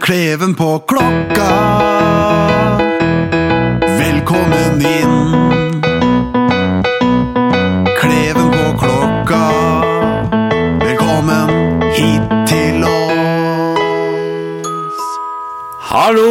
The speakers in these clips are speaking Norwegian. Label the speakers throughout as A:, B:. A: Kleven på klokka. Velkommen inn. Kleven på klokka. Velkommen hit til oss.
B: Hallo!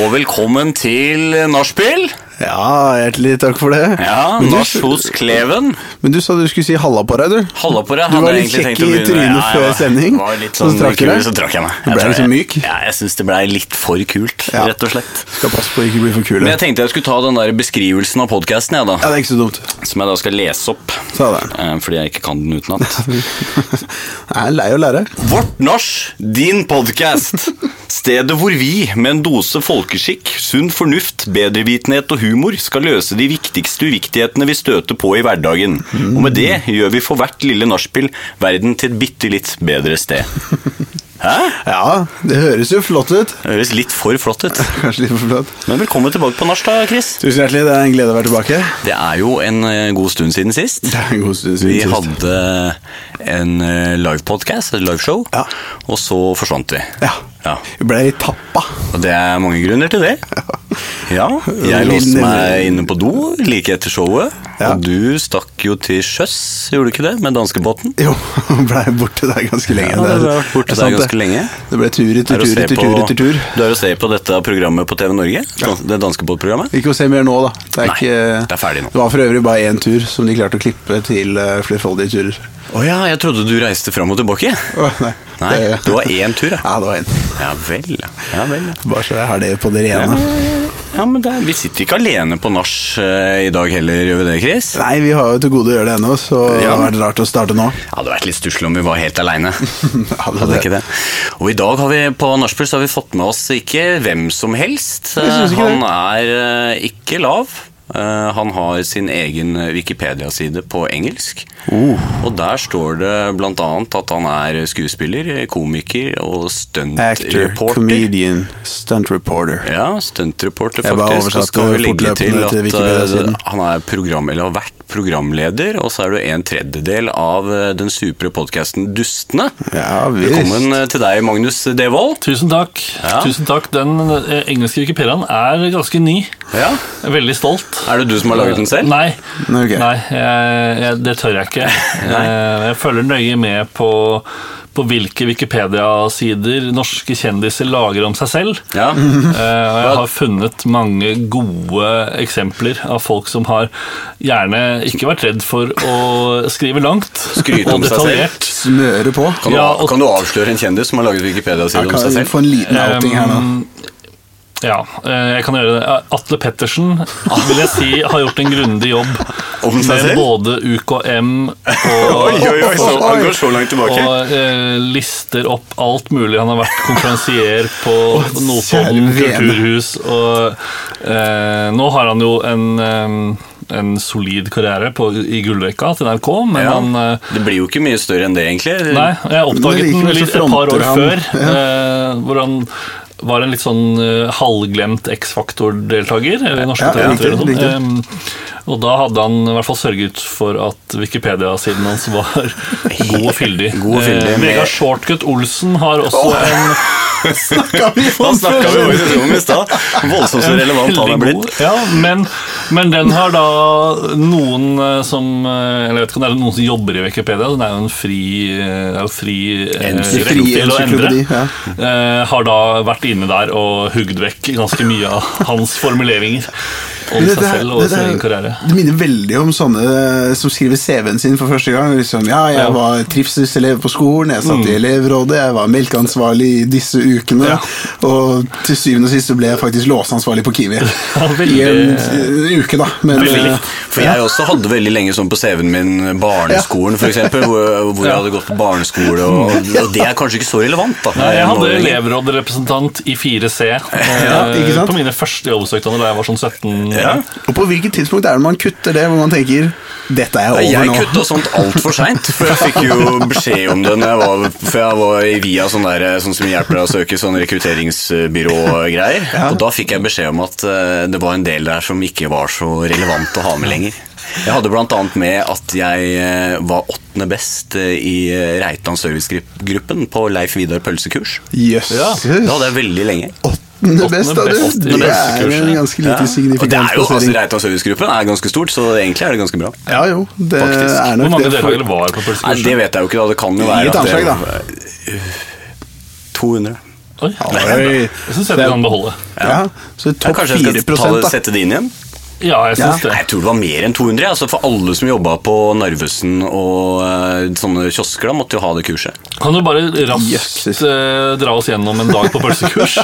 B: Og velkommen til Nachspiel.
A: Ja, hjertelig takk for det.
B: Ja,
A: Men du-
B: Nach hos Kleven.
A: Men du sa du skulle si halla på deg, du.
B: Halla på deg.
A: Du
B: hadde
A: var
B: jeg
A: litt kjekk
B: egentlig tenkt å
A: i
B: begynne med.
A: trynet
B: Ja,
A: før
B: ja.
A: sending,
B: Var litt
A: så
B: sånn
A: trakk du
B: kul,
A: deg.
B: Så trakk jeg meg.
A: Du
B: Jeg
A: ble
B: tror
A: liksom
B: jeg-
A: myk.
B: Ja, jeg syns det ble litt for kult,
A: Ja.
B: rett og slett.
A: Skal passe på å ikke bli for kul.
B: Men
A: Ja,
B: jeg tenkte jeg skulle ta den der beskrivelsen av podkasten, jeg, da.
A: det er ikke så dumt.
B: Som jeg da skal lese opp.
A: Ta det.
B: eh, Fordi jeg ikke kan den utenat.
A: Jeg er lei å lære.
B: Vårt Nach, din podkast. Stedet hvor vi, med en dose folkeskikk, sunn fornuft, bedrevitenhet og humor, skal løse de viktigste uviktighetene vi støter på i hverdagen. Og med det gjør vi for hvert lille nachspiel verden til et bitte litt bedre sted. Hæ?
A: Ja, det høres jo flott ut.
B: Det høres litt for flott ut.
A: Kanskje litt for flott.
B: Men velkommen tilbake på nach, da, Chris.
A: Tusen hjertelig, det er en glede å være tilbake.
B: Det er jo en eh, god stund siden sist.
A: Det er en god stund
B: Vi
A: siden sist.
B: hadde en eh, livepodcast, et liveshow,
A: Ja.
B: og så forsvant vi.
A: Ja.
B: Ja.
A: Vi ble litt tappa.
B: Og det er mange grunner til det. Ja, jeg låste meg inne på do like etter showet.
A: Ja.
B: Og du stakk jo til sjøs, gjorde du ikke det, med danskebåten?
A: Jo, blei borte der ganske lenge.
B: Ja,
A: er-
B: du har vært borte
A: det er sant,
B: der ganske
A: det.
B: lenge.
A: Det ble tur etter
B: Er å
A: tur
B: se
A: etter
B: på-
A: tur etter tur.
B: Du er å se på dette programmet på TV Norge? Det danskebåtprogrammet?
A: Ikke å se mer nå, da. Det er,
B: Nei,
A: ikke, eh,
B: det er ferdig nå.
A: Det var for øvrig bare én tur som de klarte å klippe til eh, flerfoldige turer.
B: Å ja, jeg trodde du reiste fram og tilbake.
A: Å, nei.
B: Nei,
A: Det-
B: det var én tur, ja.
A: Ja, det var én.
B: Ja vel. Ja, vel. ja.
A: Bare så jeg har det på det rene.
B: Ja, men det, er- Vi sitter ikke alene på nach eh, i dag heller, gjør vi det, Chris?
A: Nei, vi har jo til gode å gjøre det ennå, så det
B: Ja.
A: har vært rart å starte nå.
B: Det hadde vært litt stusslig om vi var helt aleine.
A: Ja,
B: Hadde ikke det. Og i dag har vi på Nachspiel så har vi fått med oss ikke hvem som helst.
A: Jeg synes ikke
B: han er eh, ikke lav. Eh, Han har sin egen eh, Wikipedia-side på engelsk.
A: Uh.
B: Og der står det bl.a. at han er skuespiller, komiker og
A: Actor,
B: stuntreporter.
A: comedian, stunt reporter.
B: Ja, stuntreporter,
A: Jeg bare
B: faktisk. Så
A: oversatte
B: skal vi legge
A: fortløpende
B: til
A: til
B: at
A: Wikipedia-siden.
B: eh, han er program, eller har vært programleder, og så er du en tredjedel av eh, den supre podkasten Dustene.
A: Ja, visst.
B: Velkommen eh, til deg, Magnus Devold.
C: Tusen takk.
B: Ja.
C: Tusen takk. Den eh, engelske Wikipediaen er ganske ny.
B: Ja.
C: Jeg er Veldig stolt.
B: Er det du som har laget den selv?
C: Nei,
A: Nei, ok.
C: Nei jeg, jeg, det tør jeg ikke. Eh, Jeg følger nøye med på, på hvilke Wikipedia-sider norske kjendiser lager om seg selv.
B: Ja.
C: Eh, Og jeg har funnet mange gode eksempler av folk som har gjerne ikke vært redd for å skrive langt
B: Skryte om
C: og
B: seg selv.
C: detaljert.
A: Smøre på.
B: Kan, du,
C: Ja, og-
B: kan du avsløre en kjendis som har laget Wikipedia-side om seg
A: Kan vi
B: selv?
A: få en liten outing her nå?
C: Um, Ja, eh, jeg kan gjøre det. Atle Pettersen vil jeg si har gjort en grundig jobb
B: Om seg
C: med
B: selv?
C: både UKM
B: Oi,
C: og,
B: oi, oi, så, han går så langt tilbake.
C: og eh, lister opp alt mulig. Han har vært konferansier på Notodden
A: kjære vene.
C: kulturhus, og eh, nå har han jo en eh, en solid karriere på, i Gullrekka til NRK, men
B: Ja.
C: han eh,
B: Det blir jo ikke mye større enn det, egentlig.
C: Nei, jeg oppdaget
A: Men likevel så
C: den litt, et par
A: fronter
C: år
A: han.
C: før. eh, hvor han var en litt sånn eh, halvglemt X-Faktor-deltaker. eller norske
A: Ja,
C: talenter eller
A: riktig,
C: noe sånt. Eh, og da hadde han i hvert fall sørget for at Wikipedia-siden hans var god og fyldig.
B: God og fyldig,
C: Eh,
B: med-
C: Vegard Shortcut Olsen har også en
A: Snakka vi
B: Han snakka vi om i telefonen i stad. Voldsomt så relevant han er
C: Veldig
B: blitt.
C: god, Ja, men, men den har da noen eh, som eh, Eller jeg vet ikke om det er noen som jobber i Wikipedia. Den er jo en fri, eh, det er jo fri eh,
B: En fri
C: rett til å endre.
A: encyklopedi, ja.
C: Eh, Har da vært inne der og hugd vekk ganske mye av hans formuleringer om
A: Det,
C: seg selv og sin egen karriere.
A: minner veldig om sånne eh, som skriver CV-en sin for første gang. Liksom, ja, jeg
C: Ja. Mm.
A: var trivselselev på skolen, jeg satt i elevrådet, jeg var melkeansvarlig i disse ukene,
C: Ja.
A: og til syvende og sist så ble jeg faktisk låseansvarlig på Kiwi.
C: veldig-
A: I en eh, uke, da. Men,
C: Veldig
A: eh,
C: likt.
B: For jeg også hadde veldig lenge sånn på CV-en min barneskolen, for eksempel, hvor, hvor jeg hadde gått på barneskole, og, og det er kanskje ikke så relevant, da.
C: Nei, Jeg hadde
B: Nå-
C: elevrådsrepresentant i 4C
A: Ja, ikke
C: eh,
A: sant?
C: på mine første jobbsøknader da jeg var sånn 17.
B: Ja.
A: og på hvilket tidspunkt er det man kutter det, hvor man tenker 'dette er over
B: Nei, Jeg
A: nå'?
B: kutta sånt altfor seint, for jeg fikk jo beskjed om det når jeg var, for jeg var i VIA, sånn, der, sånn som hjelper deg å søke sånn rekrutteringsbyrå-greier. Og da fikk jeg beskjed om at eh, det var en del der som ikke var så relevant å ha med lenger. Jeg hadde bl.a. med at jeg eh, var åttende best eh, i eh, Reitan servicegruppen på Leif Vidar pølsekurs.
A: Jøsses.
C: Ja,
B: Det hadde jeg veldig lenge.
A: Åttende best, da,
C: best.
A: du.
C: Åttende
A: Det
C: best
A: er
B: kurset.
A: en ganske
B: Ja.
A: lite
B: Og det
A: signifikant
B: er jo, altså,
A: plassering.
B: Reitan servicegruppen er ganske stort, så egentlig er det ganske bra.
A: Ja jo, det
B: Faktisk.
A: er
C: Hvor
A: nok
C: mange
A: det. for-
C: deltakere var på
B: Nei,
C: pølsekurset?
B: Det vet jeg jo ikke, da. Det kan jo
A: Gi
B: være
A: et
B: at det- Øh,
A: anslag,
B: 200.
C: Oi,
A: Oi.
C: Jeg syns jeg vi kan beholde.
A: Ja, så
B: Ja,
A: topp
B: kanskje
A: 4
B: jeg skal ta det,
A: da.
B: sette det inn igjen?
C: Ja, jeg syns
B: Nei,
C: det.
B: jeg tror det var mer enn 200. Altså for alle som jobba på Narvesen og eh, sånne kiosker, da, måtte jo ha det kurset.
C: Kan du bare raskt
A: Jøsses.
C: eh, dra oss gjennom en dag på pølsekurs?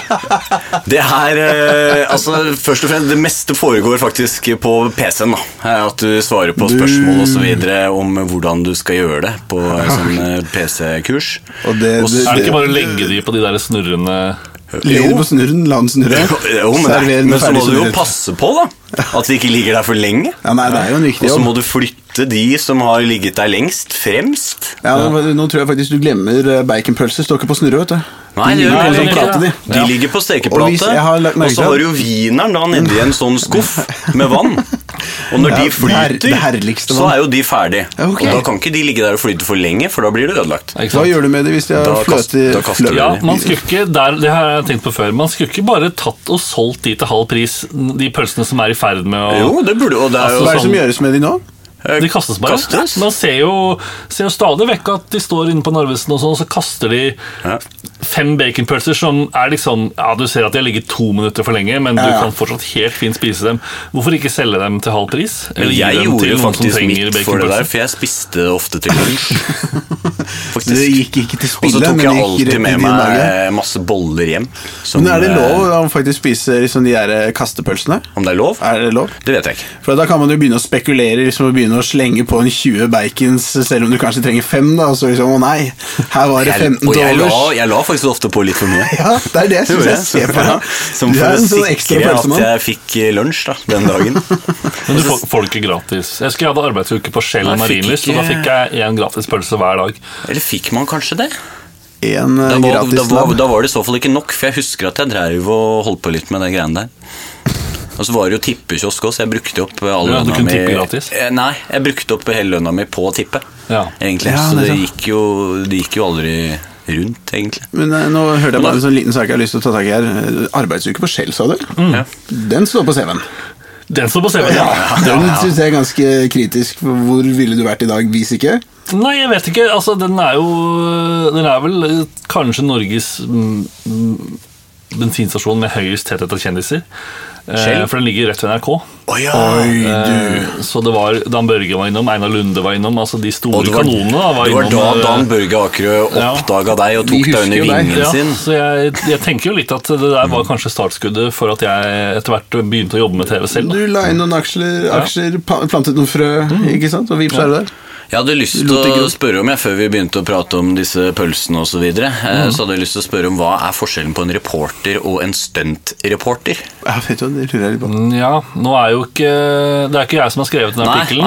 B: Det her, eh, altså Først og fremst, det meste foregår faktisk på PC-en. da. Eh, At du svarer på spørsmål osv. om hvordan du skal gjøre det på eh, sånn eh, PC-kurs.
A: Og det-
B: Og så-
A: det-
C: Er det ikke bare å legge de på de der snurrende
A: Lyder på snurren, la den snurre.
B: Jo, men, det,
A: Server
B: er-
A: den
B: men så må
A: ferdig
B: du jo
A: snurret.
B: passe på da at de ikke ligger der for lenge.
A: Ja, nei, det er jo en viktig
B: Og så
A: jobb.
B: må du flytte de som har ligget der lengst, fremst.
A: Ja, nå- nå tror jeg faktisk du glemmer eh, baconpølser. Står ikke på snurre, vet du.
B: Nei,
A: De ligger
B: det gjør
A: på
B: det
A: en sånn
B: ikke.
A: plate, de.
B: De ligger på
A: Og hvis-
B: stekeplate,
A: jeg har lagt
B: og
A: merke
B: så
A: til
B: har
A: at-
B: du wieneren da nedi en sånn skuff med vann. Og når
A: Ja,
B: de
A: det her- det
B: flyter,
A: herligste
B: så
A: vann.
B: er jo de ferdig.
A: Ja, ok.
B: Og da kan ikke de ligge der og flyte for lenge, for da blir det ødelagt.
A: Hva
C: ikke sant?
A: gjør du med det hvis de
B: Da
A: har
B: kast-
A: fløte
B: da kaster du
A: flø-
C: Ja,
B: det.
C: man skulle ikke der, Det har jeg tenkt på før. Man skulle ikke bare tatt og solgt de til halv pris, de pølsene som er i ferd med å
B: Jo, det burde og det er jo
A: Hva er
C: Altså,
A: det som gjøres med de nå?
B: eh,
C: De kastes bare.
B: kastes.
C: Man ser jo, ser jo stadig vekk at de står inne på Narvesen, og sånn, og så kaster de
B: Ja.
C: fem baconpølser som er liksom Ja, du ser at de har ligget to minutter for lenge, men du
A: Ja, ja.
C: kan fortsatt helt fint spise dem. Hvorfor ikke selge dem til halv pris?
B: Men
C: gi
B: jeg
C: dem
B: gjorde
C: til
B: jo
C: noen som
B: faktisk
C: trenger
B: mitt for det
C: baconpølse?
B: der, for jeg spiste det ofte til lunsj.
A: Det gikk
B: Faktisk.
A: ikke til
B: Og så
A: spille,
B: tok
A: men
B: jeg
A: det gikk rett
B: alltid
A: i
B: med
A: din
B: meg
A: mage.
B: eh, masse boller hjem. som,
A: Men er det lov
B: eh,
A: å faktisk spise liksom, de der eh, kastepølsene?
B: Om det er lov?
A: Er det lov?
B: Det vet jeg ikke.
A: For Da kan man jo begynne å spekulere liksom, og begynne å slenge på en 20 bacons, selv om du kanskje trenger fem. da, og så liksom, Å nei, her var det
B: Jeg,
A: 15
B: og jeg la,
A: dollars.
B: jeg la faktisk ofte på litt for mye.
A: Ja, det er det jeg syns
B: Gjorde
A: jeg ser på
B: Ja,
A: deg.
B: Som
A: Du
B: for
A: er
B: å
A: en sånn ekstra
B: sikre at
A: pølsemann.
B: jeg fikk eh, lunsj da, den dagen.
C: Men du får, får det ikke gratis. Jeg husker jeg hadde arbeidsuke på Shell
B: Nei, fikk
C: Marienlyst, og da
B: ikke-
C: fikk jeg én gratis pølse hver dag.
B: Eller fikk man kanskje det?
A: En eh,
B: Da var, da,
A: gratis
B: var,
A: labb.
B: da var det i så fall ikke nok, for jeg husker at jeg dreiv og holdt på litt med de greiene der. Og så var det jo tippekiosk òg, så jeg brukte opp eh, all
C: Ja, du
B: lønna
C: kunne
B: mi
C: tippe gratis?
B: Eh, Nei, jeg brukte opp hele lønna mi på å tippe,
C: Ja.
B: egentlig.
A: Ja,
B: så
A: det er
B: det
A: sant.
B: gikk, jo, det gikk jo aldri rundt, egentlig.
A: Men eh, nå hørte jeg bare en sånn liten sak jeg har lyst til å ta tak i her. Eh, Arbeidsuke på Shell, sa du?
C: Mm.
B: Ja.
A: Den står på CV-en.
C: Den står på CV-en.
A: Den syns jeg er ganske kritisk. for Hvor ville du vært i dag hvis ikke?
C: Nei, jeg vet ikke. Altså, den er jo Den er vel eh, kanskje Norges mm, mm, bensinstasjon med høyest tetthet av kjendiser. Eh,
B: Shell?
C: for den ligger rett ved NRK.
A: Oi, du.
C: Eh, så det var Dan Børge var innom, Einar Lunde var innom. Altså de store
B: Og det var,
C: kanonene da, var
B: det var da
C: innom. eh,
B: Dan Børge Akerø
C: ja.
B: oppdaga deg og
A: Vi
B: tok deg
A: husker
B: under
A: jo deg,
B: vingen
C: ja,
B: sin.
C: så jeg, jeg tenker jo litt at det der var kanskje startskuddet for at jeg etter hvert begynte å jobbe med TV selv. da.
A: Du la inn noen aksjer, aksjer pa- plantet noen frø, ikke sant? og vips, er du der.
B: Jeg hadde lyst til
A: Lot ikke
B: å
A: ut.
B: spørre om jeg, før vi begynte å prate om disse pølsene osv., så, videre,
C: Mm.
B: eh, så hadde jeg lyst til å spørre om hva er forskjellen på en reporter og en stuntreporter?
A: Ja, vet du, hva, det lurer jeg litt på.
C: Mm, Ja, nå er jo ikke Det er ikke jeg som har skrevet den
B: Nei,
C: artikkelen.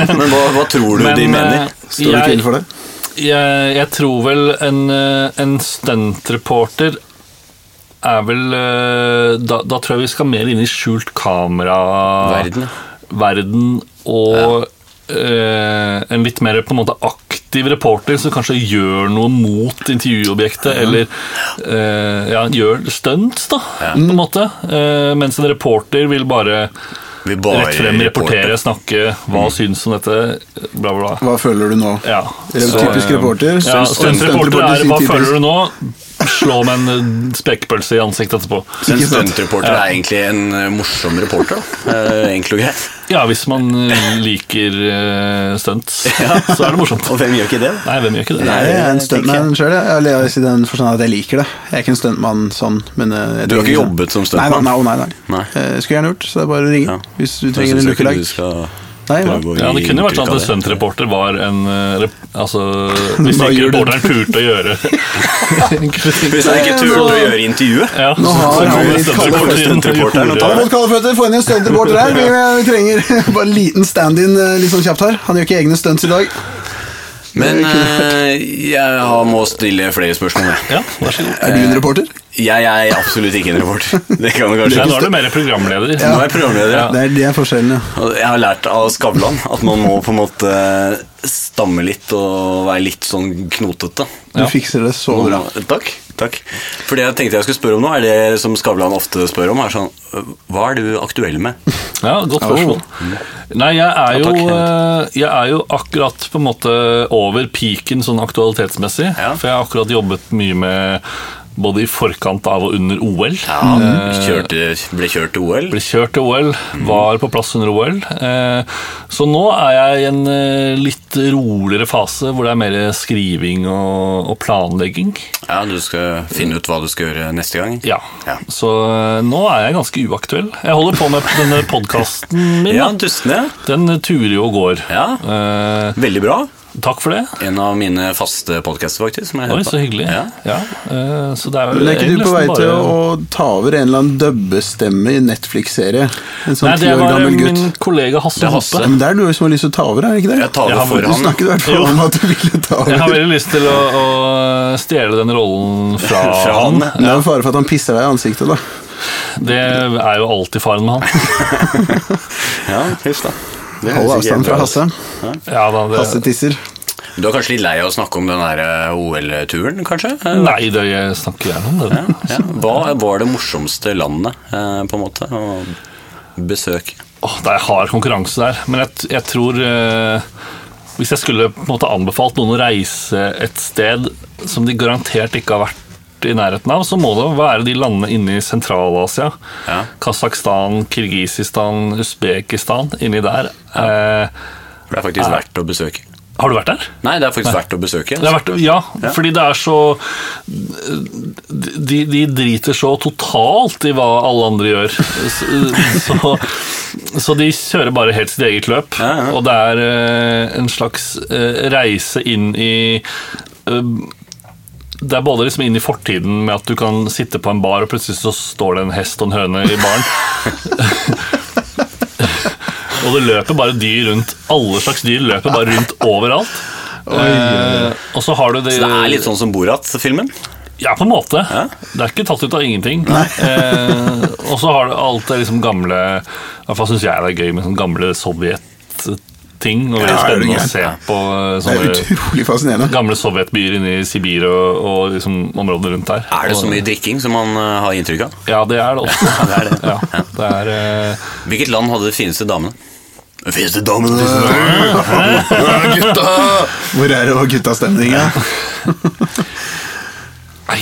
B: nei. men hva, hva tror du de mener?
C: eh,
A: Står du ikke inne for det?
C: jeg, jeg tror vel en, eh, en stuntreporter er vel eh, da, da tror jeg vi skal mer inn i skjult kamera
B: Verden, ja.
C: verden, og eh, en litt mer på en måte aktiv reporter som kanskje gjør noe mot intervjuobjektet, eller eh, ja, gjør stunts, da, på en måte. Eh, mens en reporter vil bare
B: Vi
C: rett frem
B: reporter. Mm.
C: rapportere, snakke, hva syns om dette, bla, bla, bla.
A: Hva føler du nå?
C: Ja.
A: Eller
C: så- eh,
A: typisk reporter.
C: Ja,
A: Stunt-
C: stuntreporter
A: stuntreporter
C: er
A: sier
C: hva
A: typisk.
C: føler du nå? Slå med en eh, spekepølse i ansiktet etterpå.
B: En
A: Ikke sant?
B: stuntreporter er egentlig en eh, morsom reporter. da. Eh, Enkelt og greit.
C: Ja, hvis man eh, liker eh, stunt, så er det morsomt.
B: Og hvem gjør ikke det? da?
C: Nei, hvem gjør ikke det?
A: Nei, jeg er en
B: det tenker jeg.
A: stuntman sjøl, eller jeg, i den forstand at jeg liker det. Jeg er ikke en stuntmann sånn, men eh, jeg
B: Du har
A: trenger
B: ikke
A: liksom-
B: jobbet som
A: Nei,
B: stuntmann?
A: nei, nei, nei, nei.
B: Nei.
A: Eh, Skulle gjerne gjort, så det er bare å ringe
B: Ja.
A: hvis du
B: Da
A: trenger en
B: synes jeg ikke
A: lookalike.
B: du skal
A: Nei, hva?
B: prøve å
C: Ja, Det
B: gi
C: kunne vært
B: inntrykk
C: sånn at
B: av
C: en
B: det.
C: stuntreporter var en eh, rep, Altså, hvis
A: Hva
C: ikke
A: gjør du?
C: reporteren turte å gjøre
B: Hvis han ikke turte å gjøre intervjuet,
C: ja,
A: Nå har han litt kalde
B: stuntreporteren å
A: Ta
B: ta
A: imot kalde føtter, få inn en stuntreporter her. Vi, eh, vi trenger bare en liten stand-in eh, litt sånn kjapt her. Han gjør ikke egne stunts i dag.
B: Men eh, jeg har- må stille flere spørsmål. jeg.
C: Ja, vær så god.
B: Eh,
A: Er du en reporter?
B: Jeg er absolutt ikke en reporter. Det kan du kanskje
C: Nei, nå er du mer programleder.
B: Nå er jeg programleder, ja.
A: Det er, det er forskjellen, ja.
B: Og Jeg har lært av Skavlan at man må på en måte stamme litt og være litt sånn knotete.
A: Du
C: Ja.
A: fikser det så bra.
B: Takk. takk. For det jeg tenkte jeg skulle spørre om nå, er det som Skavlan ofte spør om, er sånn øh, Hva er du aktuell med?
C: Ja, godt spørsmål. Nei, jeg er,
B: Ja,
C: jo,
B: takk.
C: eh, jeg er jo akkurat på en måte over peaken sånn aktualitetsmessig.
B: Ja.
C: For jeg har akkurat jobbet mye med både i forkant av og under OL.
B: Ja, kjørte, ble kjørt til OL?
C: Ble kjørt til OL,
B: Mhm.
C: var på plass under OL. Eh, Så nå er jeg i en eh, litt roligere fase hvor det er mer skriving og, og planlegging.
B: Ja, du skal finne ut hva du skal gjøre neste gang?
C: Ja.
B: Ja.
C: Så eh, nå er jeg ganske uaktuell. Jeg holder på med denne podkasten min.
B: Ja,
C: da.
B: Dustene.
C: Den turer jo og går. Eh,
B: Veldig bra.
C: Takk for det.
B: En av mine faste podcaster faktisk. Som jeg
C: Oi,
B: hører på.
C: så hyggelig.
B: Ja.
C: Ja, eh, så det er vel
A: Men er ikke du
C: egentlig
A: på vei
C: nesten
A: til
C: bare-
A: å ta over en eller annen dubbestemme i en Netflix-serie? En sånn
C: Nei,
A: ti
C: det
A: år
C: var
B: eh,
A: gammel gutt.
C: min kollega Hasse
B: er Hasse.
A: Ja,
C: Hoppe.
A: men det er du som har lyst til å ta over, er det ikke det?
B: Jeg tar
C: Ja,
B: det
C: men
B: for
A: Du
B: han.
A: snakket i hvert fall om at du ville ta
C: Jeg har
A: over.
C: veldig lyst til å, å stjele den rollen fra,
B: Fra han.
C: han.
A: Men Det er en fare for at han pisser deg i ansiktet, da.
C: Det er jo alltid faren med han.
B: Ja, huff da. Det
A: Hold
B: høres ikke
A: avstand
B: helt bra
A: fra
B: ut.
A: Hasse.
C: Ja, da, det,
A: Hasse tisser.
B: Du er kanskje litt lei av å snakke om den der eh, OL-turen, kanskje? Eh,
C: Nei, det jeg snakker gjerne om det.
B: Ja. Hva var det morsomste landet, eh, på en måte, å besøke?
C: Åh, det er hard konkurranse der, men jeg, t- jeg tror eh, Hvis jeg skulle på en måte anbefalt noen å reise et sted som de garantert ikke har vært i nærheten av, så må det være de landene inne i Sentral-Asia.
B: Ja.
C: Kasakhstan, Kirgisistan, Usbekistan. Inni der. Eh,
B: For det er faktisk verdt å besøke.
C: har du vært der?
B: Nei, det er faktisk verdt å besøke.
C: Det har vært, ja,
B: Ja.
C: fordi det er så de, de driter så totalt i hva alle andre gjør. Så, så, så de kjører bare helt sitt eget løp.
B: Ja, ja.
C: Og det er eh, en slags eh, reise inn i eh, det er både liksom inn i fortiden med at du kan sitte på en bar, og plutselig så står det en hest og en høne i baren. og det løper bare dyr rundt. Alle slags dyr løper bare rundt overalt. Eh, og så har du det,
B: Så det er litt sånn som Borat-filmen?
C: Ja, på en måte.
B: Ja.
C: Det er ikke tatt ut av ingenting. Eh, og så har du alt det liksom gamle I hvert fall syns jeg det er gøy med sånn gamle sovjetting. Og veldig
A: Ja, er du
C: spennende å
A: gæren?
C: se på eh,
A: Det er
C: sånne
A: utrolig fascinerende.
C: gamle sovjetbyer inne i Sibir og, og liksom områdene rundt der.
B: Er det så
C: Og-
B: mye drikking som man eh, har inntrykk av?
C: Ja, det er det også.
B: Ja, det er det.
C: Ja, det er, eh,
B: Hvilket land hadde de fineste damene? De fineste damene! Gutta!
A: Hvor er det guttastemninga?
C: Nei,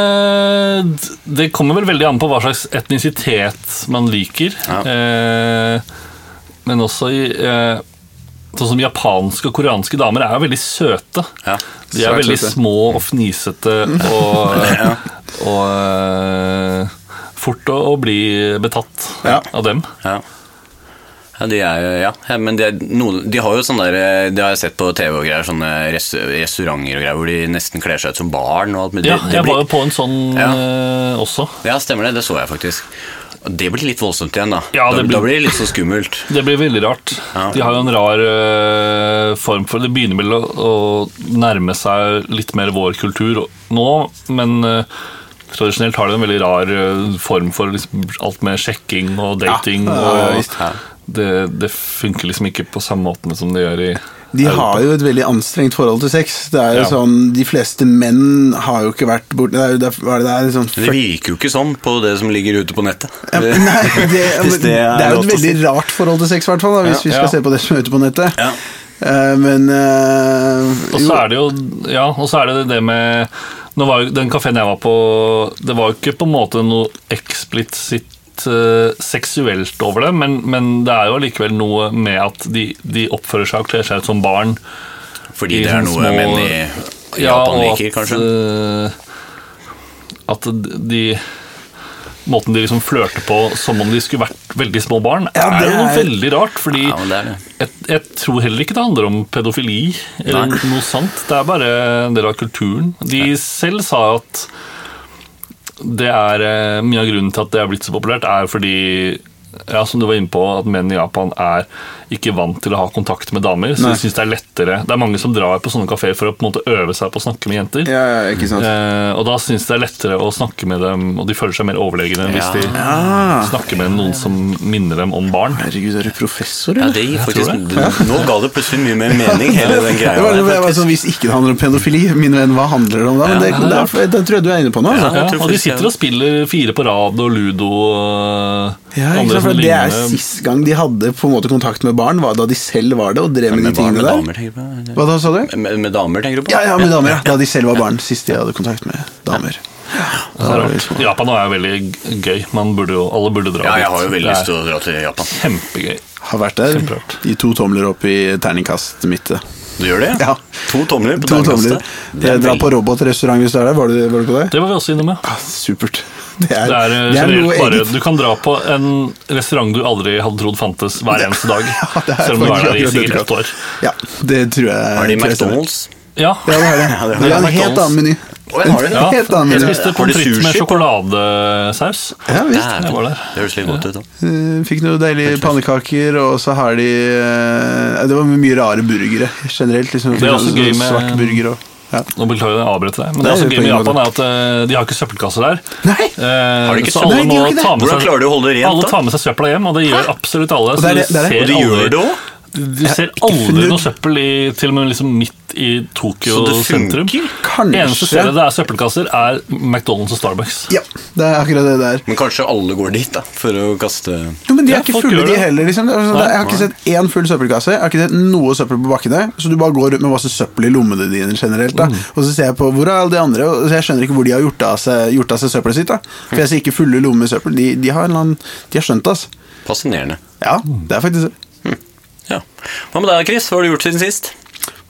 C: det Det kommer vel veldig an på hva slags etnisitet man liker.
B: Ja.
C: Eh, men også i eh, Sånn som japanske og koreanske damer er jo veldig søte.
B: Ja,
C: De er
A: svært
C: veldig
A: søte.
C: små og fnisete og,
B: Ja.
C: og eh, fort å, å bli betatt
A: Ja.
C: av dem.
B: Ja. Ja, de er jo, ja. ja men de, er noen, de har jo sånne der, eh, det har jeg sett på TV og greier, sånne res, restauranter og greier, hvor de nesten kler seg ut som barn og alt mulig.
C: Ja,
B: Det- det
C: jeg
B: blir-
C: var jo på en sånn
B: Ja.
C: eh, også.
B: Ja, stemmer det, det så jeg faktisk. Og Det blir litt voldsomt igjen da.
C: Ja, det
B: da,
C: blir-
B: da blir det litt så skummelt.
C: Det blir veldig rart.
B: Ja.
C: De har jo en rar øh, form for Det begynner vel å, å nærme seg litt mer vår kultur nå, men øh, tradisjonelt har de en veldig rar øh, form for liksom, alt med sjekking og dating.
A: Ja, ja, ja,
C: og det, det funker liksom ikke på samme måten som det gjør i
A: De har jo et veldig anstrengt forhold til sex. Det er jo
C: Ja.
A: sånn, De fleste menn har jo ikke vært borti Det er jo det er, hva er det der, sånn
B: Det virker jo ikke sånn på det som ligger ute på nettet.
A: Ja, men Nei, det, ja, men
B: Hvis
A: det
B: det er
A: er jo
B: lov
A: et
B: til å
A: veldig rart forhold til sex, i hvert fall, da, hvis
B: Ja.
A: vi skal
C: Ja.
A: se på det som er ute på nettet.
B: Ja.
A: Eh, men eh,
C: Og
A: jo,
C: så er det jo Ja, og så er det det med nå var jo, Den kafeen jeg var på, det var jo ikke på en måte noe eksplisitt eh, seksuelt over det, men, men det er jo likevel noe med at de, de oppfører seg og kler seg ut som barn.
B: Fordi
C: I
B: det er
C: sånne
B: noe
C: Liksom små-
B: menn i Japan liker, kanskje.
C: eh, at de Måten de liksom flørter på som om de skulle vært veldig små barn,
A: Ja,
C: er
A: det
C: jo noe
A: er-
C: veldig rart. fordi
B: Ja, men det er det.
C: jeg, jeg tror heller ikke det handler om pedofili eller
B: Nei.
C: noe sant. Det er bare en del av kulturen. De selv sa at det er eh, mye av grunnen til at det er blitt så populært, er fordi ja, som du var inne på, at menn i Japan er ikke vant til å ha kontakt med damer. Så
A: Nei.
C: de synes Det er lettere Det er mange som drar på sånne kafeer for å på en måte øve seg på å snakke med jenter.
A: Ja, ja, ikke sant.
C: Eh, og da syns de det er lettere å snakke med dem, og de føler seg mer overlegne hvis de
A: Ah.
C: snakker med noen som minner dem om barn.
A: Herregud, er du professor,
B: Ja,
A: eller?
B: det gir faktisk Nå ga det plutselig mye mer mening, hele den greia
A: Det var,
B: der.
A: det var sånn, Hvis ikke det handler om pedofili, min venn, hva handler det om da? Men det, det, er- det tror jeg du er inne på nå. altså.
C: Ja,
B: jeg tror
C: og de
B: faktisk
C: sitter
B: jeg-
C: og spiller fire på rad og ludo og eh,
A: Ja, ikke
C: andre
A: sant,
C: som
A: for Det er
C: ligner.
A: sist gang de hadde på en måte kontakt med barn, var da de selv var det og drev med de
B: Med barn,
A: tingene
B: med
A: der.
B: damer, tenker du på?
A: Hva da, sa du?
B: Med, med damer, tenker du på?
A: Ja, ja, med damer, ja. Da de selv var barn. Sist de hadde kontakt med damer.
C: Det er rart. Japan er jo veldig g- gøy. Man burde jo, alle burde dra
B: Ja, jeg har
C: dit.
B: jo veldig
C: Det er
B: lyst til å dra til Japan.
C: Kjempegøy.
A: Har vært der.
C: Kjemperart.
A: I to tomler opp i terningkast midt.
B: Du gjør det?
A: Ja.
B: To tomler på
A: To tomler. Eh,
B: terningkastet. Det er
A: Dra
B: veldig-
A: på robotrestaurant hvis du er der. Var du, var du på det?
C: Det var vi også inne med.
A: Ah, supert. Det er,
C: Det er, eh,
A: det er
C: generelt
A: noe
C: bare,
A: eget.
C: du kan dra på en restaurant du aldri hadde trodd fantes hver eneste dag.
A: det er
C: selv om du er
A: faktisk akkurat det
C: der i
A: du
C: sikkert ett
A: kan.
C: år.
A: Ja, det tror jeg
B: Har de
A: tror jeg stemmer.
B: McDonald's?
C: Ja,
A: Ja, det har de.
B: Ja, det har
A: De
B: de.
A: har en helt annen meny.
B: Å, ja, har de det?
A: En
C: ja.
A: Helt annen
C: Jeg
A: meny.
C: spiste
B: Har de
C: pommes frites med
B: sushi på?
C: sjokoladesaus.
A: Ja, visst.
B: Dæven,
C: Jeg var der.
B: Det høres litt godt ut. da.
A: Eh, Fikk noen deilige pannekaker, og så har de eh, Det var mye rare burgere generelt. Liksom,
C: Det er også gøy med-
A: Svart burger og ja.
C: Nå beklager jeg å avbryte deg, men det
A: Nei,
C: er
A: det
C: også
A: er
C: gøy
A: på
C: med
A: ingen
C: Japan er at eh, de har ikke søppelkasser der.
A: Nei!
C: Eh,
B: Har de ikke
C: så
B: søppel?
C: alle
A: Nei, de
C: må
A: har ikke det.
C: ta med
B: Hvordan
C: seg-
B: klarer de å holde det rent,
C: Alle
B: da?
C: tar med seg søpla hjem, og det gjør absolutt
A: det
C: alle.
A: er
C: så
A: det- det er det.
C: ser
B: Og de
C: aldri-
B: gjør det òg?
C: Du ser
A: funnet
C: aldri
A: ut.
C: noe søppel i, til og med liksom midt i Tokyo
B: Så det funker?
C: sentrum.
A: Kanskje.
C: Eneste stedet det er søppelkasser, er McDonald's og Starbucks.
A: Ja, det er akkurat det der.
B: Men kanskje alle går dit, da, for å kaste
A: Jo, men de er
C: Ja,
A: ikke
C: folk
A: fulle, de
C: gjør det.
A: heller. Liksom. Det er sånn,
C: Nei.
A: jeg har ikke sett én full søppelkasse. Jeg har ikke sett noe søppel på bakkene. Så du bare går rundt med masse søppel i lommene dine generelt. Da. Og så ser jeg på hvor er alle de andre, og så jeg skjønner ikke hvor de har gjort av seg, gjort av seg søppelet sitt. Da. For jeg ser ikke fulle lommer med søppel. De, de, har en eller annen, de har skjønt det, altså.
B: Fascinerende.
A: Ja, det er faktisk det.
B: Ja. Hva med deg, Chris? Hva har du gjort siden sist?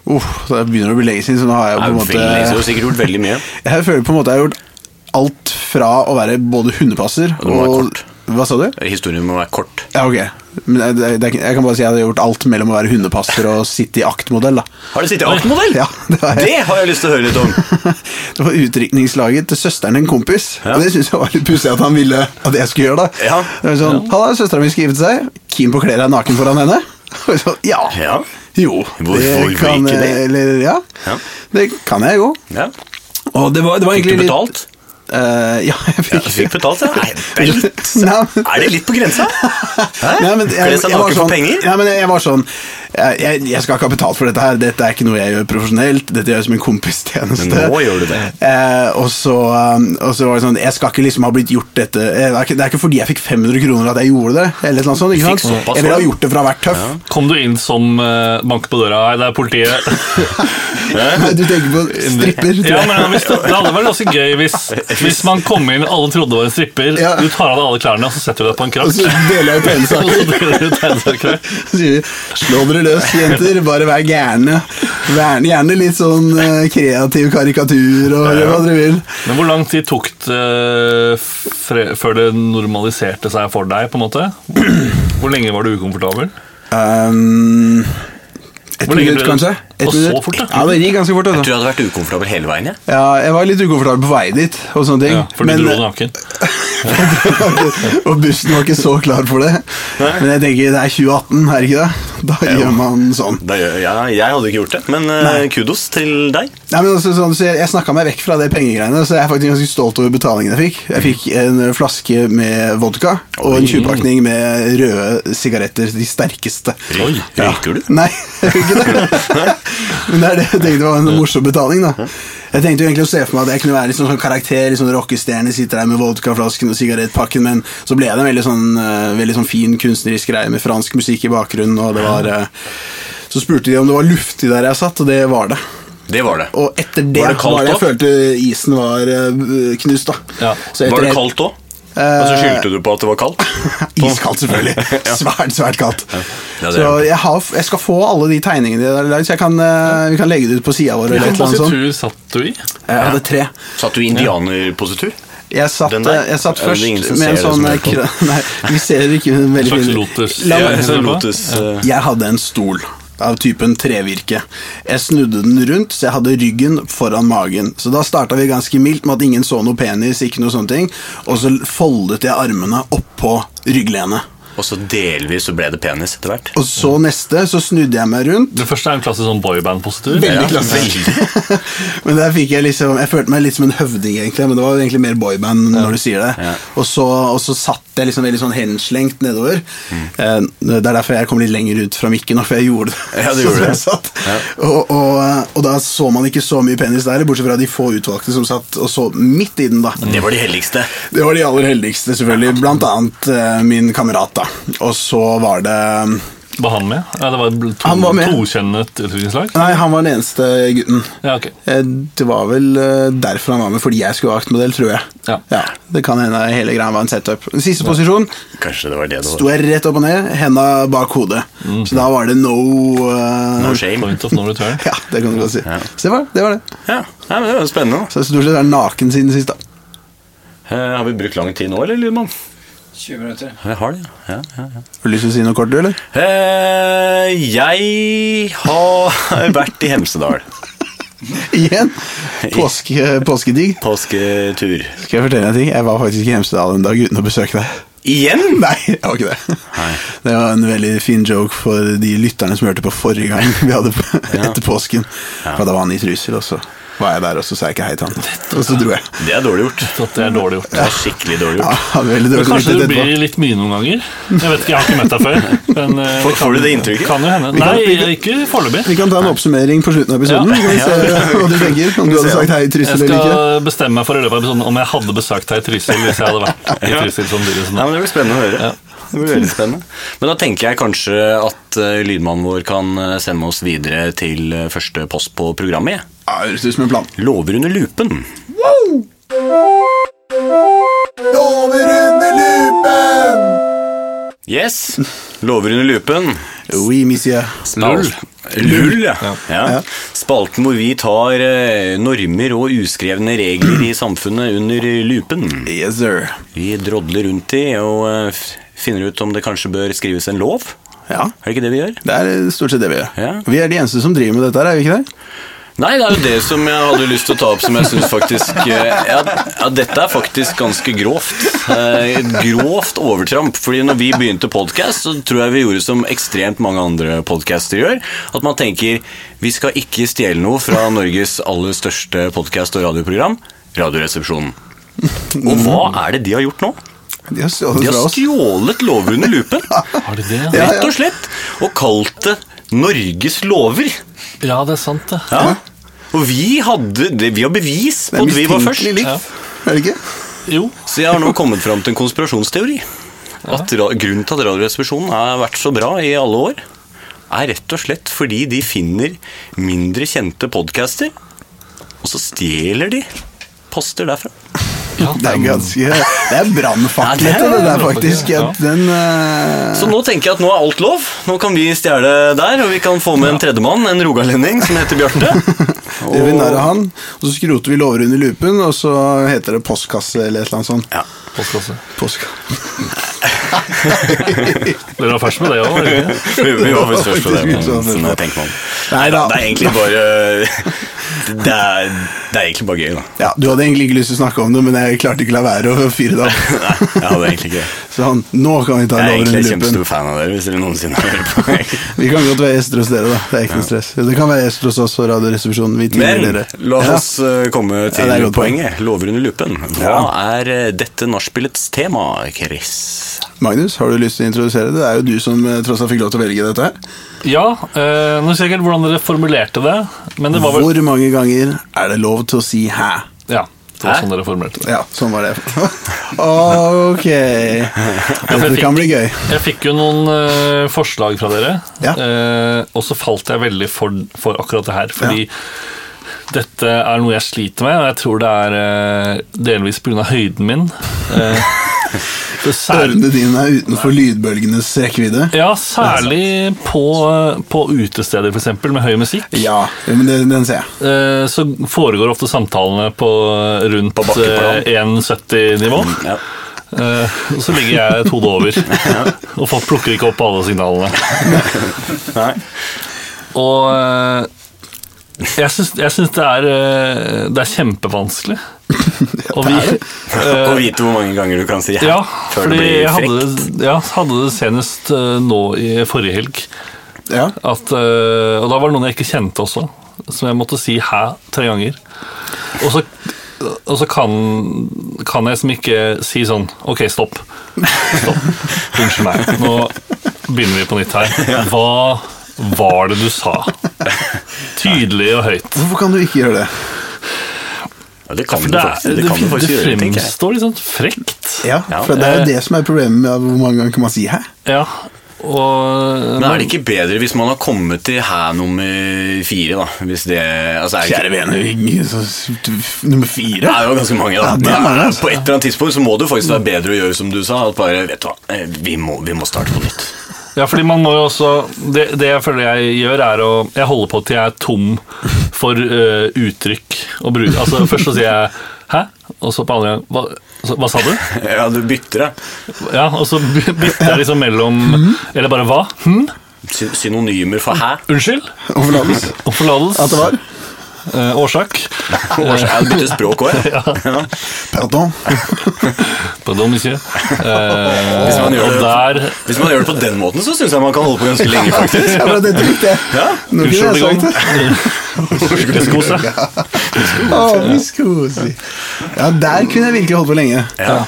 A: Uff, det begynner å bli lenge siden, så nå har jeg
B: Nei,
A: på en
B: veldig lenge siden. Du har
A: måte
B: sikkert gjort veldig mye.
A: Jeg føler på en måte jeg har gjort alt fra å være både hundepasser
B: det må være
A: og
B: kort.
A: Hva sa du?
B: Historien må være kort.
A: Ja, ok. Men jeg, det, det, jeg kan bare si at jeg har gjort alt mellom å være hundepasser og sitte i aktmodell. da.
B: Har du sittet i aktmodell?
A: Ja, det har jeg.
B: Det har jeg lyst til å høre litt om.
A: Det var utrykningslaget til søsteren til en kompis.
B: Ja.
A: Og Det synes jeg var litt pussig at han ville at jeg skulle gjøre. det.
B: Ja.
A: Det var sånn, Halla, søstera mi skal gifte seg. Keen på å kle deg naken foran henne? Og jeg sånn, ja.
B: Ja.
A: Jo.
B: Hvorfor ikke det?
A: eh, Eller, ja.
B: Ja.
A: Det kan jeg jo.
B: Ja.
A: Og det var, det var
B: Fikk du
A: egentlig litt-
B: betalt?
A: Eh, ja, jeg
B: Ja,
A: fikk
B: du fikk betalt, ja. Nei, det er litt
A: Nei, men-
B: Er det litt på grensa? Hæ?
A: Nei, men jeg,
B: Kle
A: jeg
B: seg
A: var
B: naken
A: sånn,
B: for penger?
A: Nei, men jeg var sånn jeg, jeg, jeg skal ikke ha betalt for dette her. Dette er ikke noe jeg gjør profesjonelt. Dette gjør jeg som en kompistjeneste.
B: Men nå gjør du det.
A: Eh, og, så, um, og så var det sånn Jeg skal ikke liksom ha blitt gjort dette eh, Det er ikke, det er ikke fordi jeg fikk 500 kroner at jeg gjorde det. Eller et eller annet sånt, ikke
B: Fikk
A: sant?
B: såpass,
A: Jeg ville ha
B: ja.
A: gjort det for å ha vært tøff.
C: Kom du inn som uh, banker på døra Hei, det er politiet.
A: Nei, Du tenker på stripper. tror
C: ja,
A: jeg.
C: men hvis det, det hadde vært ganske gøy hvis, hvis man kom inn, alle trodde det var en stripper,
A: Ja.
C: du tar av deg alle klærne og så setter du deg på en
A: Og
C: krakk.
A: så deler jeg ut pensa.
C: Og så deler du ut tegnesaker.
A: Så sier vi, Slå dere løs, jenter. Bare vær gærne. Vær gjerne litt sånn eh, kreativ karikatur og gjør hva dere vil.
C: Men hvor lang tid tok det eh, fre før det normaliserte seg for deg? på en måte? Hvor lenge var du ukomfortabel?
A: Um, et
C: Hvor lenge
A: minutt,
C: ble det?
A: kanskje? Et
C: Og så
A: minutt.
C: fort, da?
A: Ja, det gikk ganske fort.
B: Jeg
A: Altså.
B: tror jeg hadde vært ukomfortabel hele veien. jeg.
A: Ja, jeg var litt ukomfortabel på vei dit, og sånne ting.
C: Ja, for du
A: men- eh,
C: dro naken.
A: og bussen var ikke så klar for det. Men jeg tenker, det er 2018, er det ikke det? Da gjør man sånn.
B: Da gjør- ja, jeg hadde ikke gjort det, men eh,
A: Nei.
B: kudos til deg.
A: Nei, men altså, sånn, så jeg, jeg snakka meg vekk fra det pengegreiene, så jeg er faktisk ganske stolt over betalingen jeg fikk. Jeg fikk en flaske med vodka og en tjuvpakning med røde sigaretter, de sterkeste.
B: Oi,
A: Ja.
B: Røyker du?
A: Nei, jeg gjør ikke det. Men det er det jeg tenkte var en morsom betaling. da Jeg tenkte jo egentlig å se for meg at jeg kunne være litt sånn, sånn karakter, litt sånn rockestjerne, sitter der med vodkaflasken og sigarettpakken, men så ble det en veldig sånn, eh, veldig sånn fin kunstnerisk greie med fransk musikk i bakgrunnen, og det var eh, Så spurte de om det var luftig der jeg satt, og det var det.
B: Det var det.
A: Og etter det var
B: Var det
A: det,
B: kaldt
A: jeg
B: da?
A: følte isen var eh, knust, da.
C: Ja.
A: Så etter
B: Var det
A: det-
B: kaldt òg?
A: Eh,
B: Og så skyldte du på at det var kaldt?
A: Iskaldt, selvfølgelig. Svært, svært kaldt.
B: Ja, det er
A: Så
B: det.
A: jeg, har, jeg skal få alle de tegningene de har lagd, så jeg kan, eh, vi kan legge det ut på sida vår. Eller et eller
C: Hvilken
A: annet sånt.
C: positur satt du i?
A: Jeg hadde tre.
B: Satt du i indianerpositur?
A: Jeg satt, eh,
B: Den der?
A: jeg satt
B: Er det
A: først
B: ingen som
A: med en
B: ser det
A: sånn
B: som
A: eh,
B: er
A: kra- Nei, vi ser ikke en veldig
C: slags
A: fin-
C: lotus.
A: La
C: Ja,
A: meg-
C: jeg ser det på.
B: lotus, eh,
A: Jeg hadde en stol av typen trevirke. Jeg snudde den rundt, så jeg hadde ryggen foran magen. Så da starta vi ganske mildt med at ingen så noe penis, ikke noe sånne ting. Og så foldet jeg armene oppå rygglenet.
B: Og så delvis så ble det penis etter hvert.
A: Og så neste, så snudde jeg meg rundt.
C: Det første er en klassisk sånn boyband-positur.
A: Veldig
C: Ja.
A: klassisk. men der fikk jeg liksom Jeg følte meg litt som en høvding, egentlig, men det var jo egentlig mer boyband når du sier det. Og, så, og så satt jeg liksom veldig sånn henslengt nedover.
B: Mm.
A: Eh, Det er derfor jeg kom litt lenger ut fra mikken nå, for jeg gjorde det.
B: Ja, du gjorde
A: Så jeg
B: det.
A: satt. Og, og, og da så man ikke så mye penis der, bortsett fra de få utvalgte som satt og så midt i den, da.
B: Det var de heldigste.
A: Det var de aller heldigste, selvfølgelig. Blant annet eh, min kamerat, da. Og så var det
C: Var han med? Ja, det var to,
A: Han var med.
C: tokjønnet utviklingslag?
A: Nei, han var den eneste gutten.
C: Ja, ok.
A: Eh, Det var vel eh, derfor han var med, fordi jeg skulle være aktmodell, tror jeg.
C: Ja.
A: Det kan hende hele greia var en setup. Den siste posisjon
B: Kanskje det var det det
A: sto
B: var.
A: jeg rett opp og ned, henda bak hodet. Så da var det no eh,
B: No shame.
C: Point of no return.
A: Ja, det kan du godt si. Så det var det. var det.
B: Ja, Nei, men Det var jo spennende. da.
A: Så jeg har stort sett vært naken siden sist, da.
B: Eh, har vi brukt lang tid nå, eller, Lydmann?
D: 20 minutter.
B: Jeg har det, ja. ja, ja, ja.
A: Har du lyst til å si noe kort, du, eller?
B: Eh, jeg har vært i Hemsedal.
A: Igjen? Påske, eh, påskedigg.
B: Påsketur.
A: Skal jeg fortelle deg en ting? Jeg var faktisk i Hemsedal en dag uten å besøke deg.
B: Igjen?
A: Nei, jeg var ikke det. Det var en veldig fin joke for de lytterne som hørte på forrige gang vi hadde på, etter påsken. For da var han i trussel, og så var jeg der, og så sa jeg ikke hei til han. Og så dro jeg.
B: Det er dårlig gjort.
C: Så at det er dårlig gjort.
B: Det er skikkelig dårlig
A: Ja,
B: gjort.
A: han var veldig
C: Men
A: dårlig
C: kanskje
A: samvittighet
C: du
A: etterpå.
C: blir litt mye noen ganger. Jeg vet ikke, jeg har ikke møtt deg før. Men, eh,
B: Får- får du det inntrykket?
C: Kan jo hende.
A: kan-
C: Nei,
A: vi kan-
C: ikke foreløpig.
A: Vi kan ta en oppsummering på slutten av episoden.
C: Ja.
A: Så kan vi se hva du tenker. Om du hadde sagt hei i
C: Jeg
A: trussel eller ikke.
C: skal bestemme meg for i løpet av episoden om jeg hadde besøkt deg i Trysil hvis jeg hadde vært i Trysil som dere som
B: Nei, men Det blir spennende å høre. Det blir veldig spennende. Men da tenker jeg kanskje at eh, lydmannen vår kan eh, sende oss videre til eh, første post på programmet. jeg.
A: Ja, Høres ut som en plan.
B: Lover under lupen. Yes! Lover under lupen.
A: Oui, monsieur.
B: Lull. Lull, ja. ja. Spalten hvor vi tar eh, normer og uskrevne regler i samfunnet under lupen.
A: Yes, sir.
B: Vi drodler rundt i og eh, f- finner ut om det kanskje bør skrives en lov.
A: Ja,
B: Er det ikke det vi gjør?
A: det er stort sett det vi gjør.
B: Ja.
A: Vi er de eneste som driver med dette her, er vi ikke det?
B: Nei, det er jo det som jeg hadde lyst til å ta opp som jeg syns faktisk eh, ja, ja, dette er faktisk ganske grovt. Eh, grovt overtramp. Fordi når vi begynte podkast, så tror jeg vi gjorde som ekstremt mange andre podcaster gjør. At man tenker vi skal ikke stjele noe fra Norges aller største podkast og radioprogram, Radioresepsjonen. Og hva er det de har gjort nå?
A: De har stjålet
B: De
A: fra
B: har
A: oss.
B: stjålet lover under lupen.
C: Har de det?
A: Ja, ja.
B: Rett og slett. Og kalt det Norges lover.
C: Ja, det er sant, det.
B: Ja. Og vi hadde det, Vi har bevis
A: Det
B: på
A: er
B: at vi var først.
A: mistenkelig likt. Er det ikke?
C: Jo.
B: Så jeg har nå kommet fram til en konspirasjonsteori. At ra grunnen til at Radioresepsjonen har vært så bra i alle år, er rett og slett fordi de finner mindre kjente podcaster, og så stjeler de poster derfra.
C: Ja,
A: Det er ganske Det er brannfakkel,
B: Ja, det er
A: dette, det der,
C: brannfakkel,
A: faktisk.
C: ja.
A: At den eh,
B: Så nå tenker jeg at nå er alt lov. Nå kan vi stjele der, og vi kan få med en tredjemann, en rogalending som heter Bjarte.
A: gjør vi narr av han, og så skroter vi lover under lupen, og så heter det postkasse eller et eller annet sånt.
B: Ja.
C: postkasse.
A: Postka.
C: Dere var først med det òg?
B: Vi vi var visst først på det.
A: Faktisk, vi var først på
B: men
A: det.
B: Nå tenker man.
A: Nei da.
B: Det er egentlig bare Det er, det er egentlig bare gøy, da.
A: Ja, du hadde egentlig ikke lyst til å snakke om det, men jeg klarte ikke la være å fyre det opp.
B: Nei, jeg hadde egentlig ikke det.
A: Så han, nå kan vi ta
B: Jeg er
A: lover
B: egentlig
A: under
B: en
A: lupen.
B: kjempestor fan av dere, hvis dere noensinne hører på.
A: Vi kan godt være gjester hos dere, da. Det er ikke noe stress. Det kan være gjester hos oss og Radioresepsjonen. Vi tilgir
B: Men
A: dere.
B: la oss eh, komme
A: Ja, det
B: til
A: er et godt poeng.
B: poenget. Lover under lupen. Hva er eh, dette nachspielets tema, Chris?
A: Ja. Magnus, har du lyst til å introdusere det? Det er jo du som eh, tross alt fikk lov til å velge dette her.
C: Ja. Eh, nå husker jeg ikke helt hvordan dere formulerte det, men det var vel
A: Hvor mange ganger er det lov til å si 'hæ'?
C: Ja, det var
B: Hæ?
C: sånn dere formulerte det.
A: Ja, sånn var det. ok. Dette kan bli gøy.
C: Jeg fikk jo noen eh, forslag fra dere,
A: Ja.
C: eh, og så falt jeg veldig for, for akkurat det her. Fordi dette er noe jeg sliter med, og jeg tror det er eh, delvis pga. høyden min. Eh, det er særlig,
A: Ørene dine er utenfor lydbølgenes rekkevidde.
C: ja, særlig på, eh, på utesteder, f.eks., med høy musikk.
A: Ja, men den, den ser jeg.
C: Eh, så foregår ofte samtalene på eh, rundt
B: bakkeplan.
C: eh, 1,70-nivå.
B: Ja.
C: Eh, og så ligger jeg et hode over, og folk plukker ikke opp alle signalene.
B: Nei.
C: Og eh, Jeg syns, jeg syns det, er, eh, det er kjempevanskelig. Og vi,
B: Å vite hvor mange ganger du kan si
C: ja,
B: før
C: fordi
B: det blir
C: jeg hadde
B: frekk.
C: det, ja, hadde det senest eh, nå i forrige helg.
A: Ja.
C: At, eh, og da var det noen jeg ikke kjente også, som jeg måtte si 'hæ' tre ganger. Og så, og så kan, kan jeg som ikke si sånn 'ok, stopp'. Stopp. Unnskyld meg. Nå begynner vi på nytt her. Hva var det du sa? Tydelig og høyt.
A: Hvorfor kan du ikke gjøre det?
B: Ja, det kan
C: For
B: du
C: det,
B: faktisk,
C: er,
B: det
C: det,
B: kan du
C: det
B: faktisk gjøre, tenker jeg.
C: fremstår litt sånn frekt.
A: Ja,
B: Ja,
A: for det er jo
C: eh,
A: det som er problemet med hvor mange ganger kan man si 'hæ'?
C: Ja, og
B: Men er det ikke bedre hvis man har kommet til her nummer fire, da? Hvis det, altså, er det ikke-
A: Kjære vene, ingen- så- nummer fire?
B: Det er jo ganske mange, da.
A: Ja, det
B: Men
A: er mange, altså. Mm.
B: På et eller annet tidspunkt så må det faktisk være bedre å gjøre som du sa. At bare, vet du hva, eh, vi må, vi må starte på nytt.
C: Ja, fordi man må jo også det, det jeg føler jeg gjør, er å Jeg holder på til jeg er tom for eh, uttrykk å bruke. Altså, først så sier jeg 'hæ', og så på andre gang hva, så, 'hva sa du?'
B: Ja, du bytter det.
C: Ja, Og så by- bytter jeg liksom mellom
A: Hmm?
C: Eller bare 'hva'? Hm?
B: Sy- Synonymer for hæ?
C: Unnskyld?
A: Og forlatelse.
C: Og forlatelse?
A: At det var
C: Eh, årsak?
B: Jeg bytter språk òg, jeg.
A: Pardon.
C: Pardon, monsieur. Eh,
B: Hvis man gjør
C: og
B: det-
C: der
B: Hvis man gjør det på den måten, så syns jeg man kan holde på ganske lenge, faktisk.
A: Ja, men dette likte jeg. Nå kunne jeg
C: Unnskyld,
A: sagt det.
C: Skose.
A: Å, Miss Cozy. Ja, der kunne jeg virkelig holdt på lenge.
B: Ja.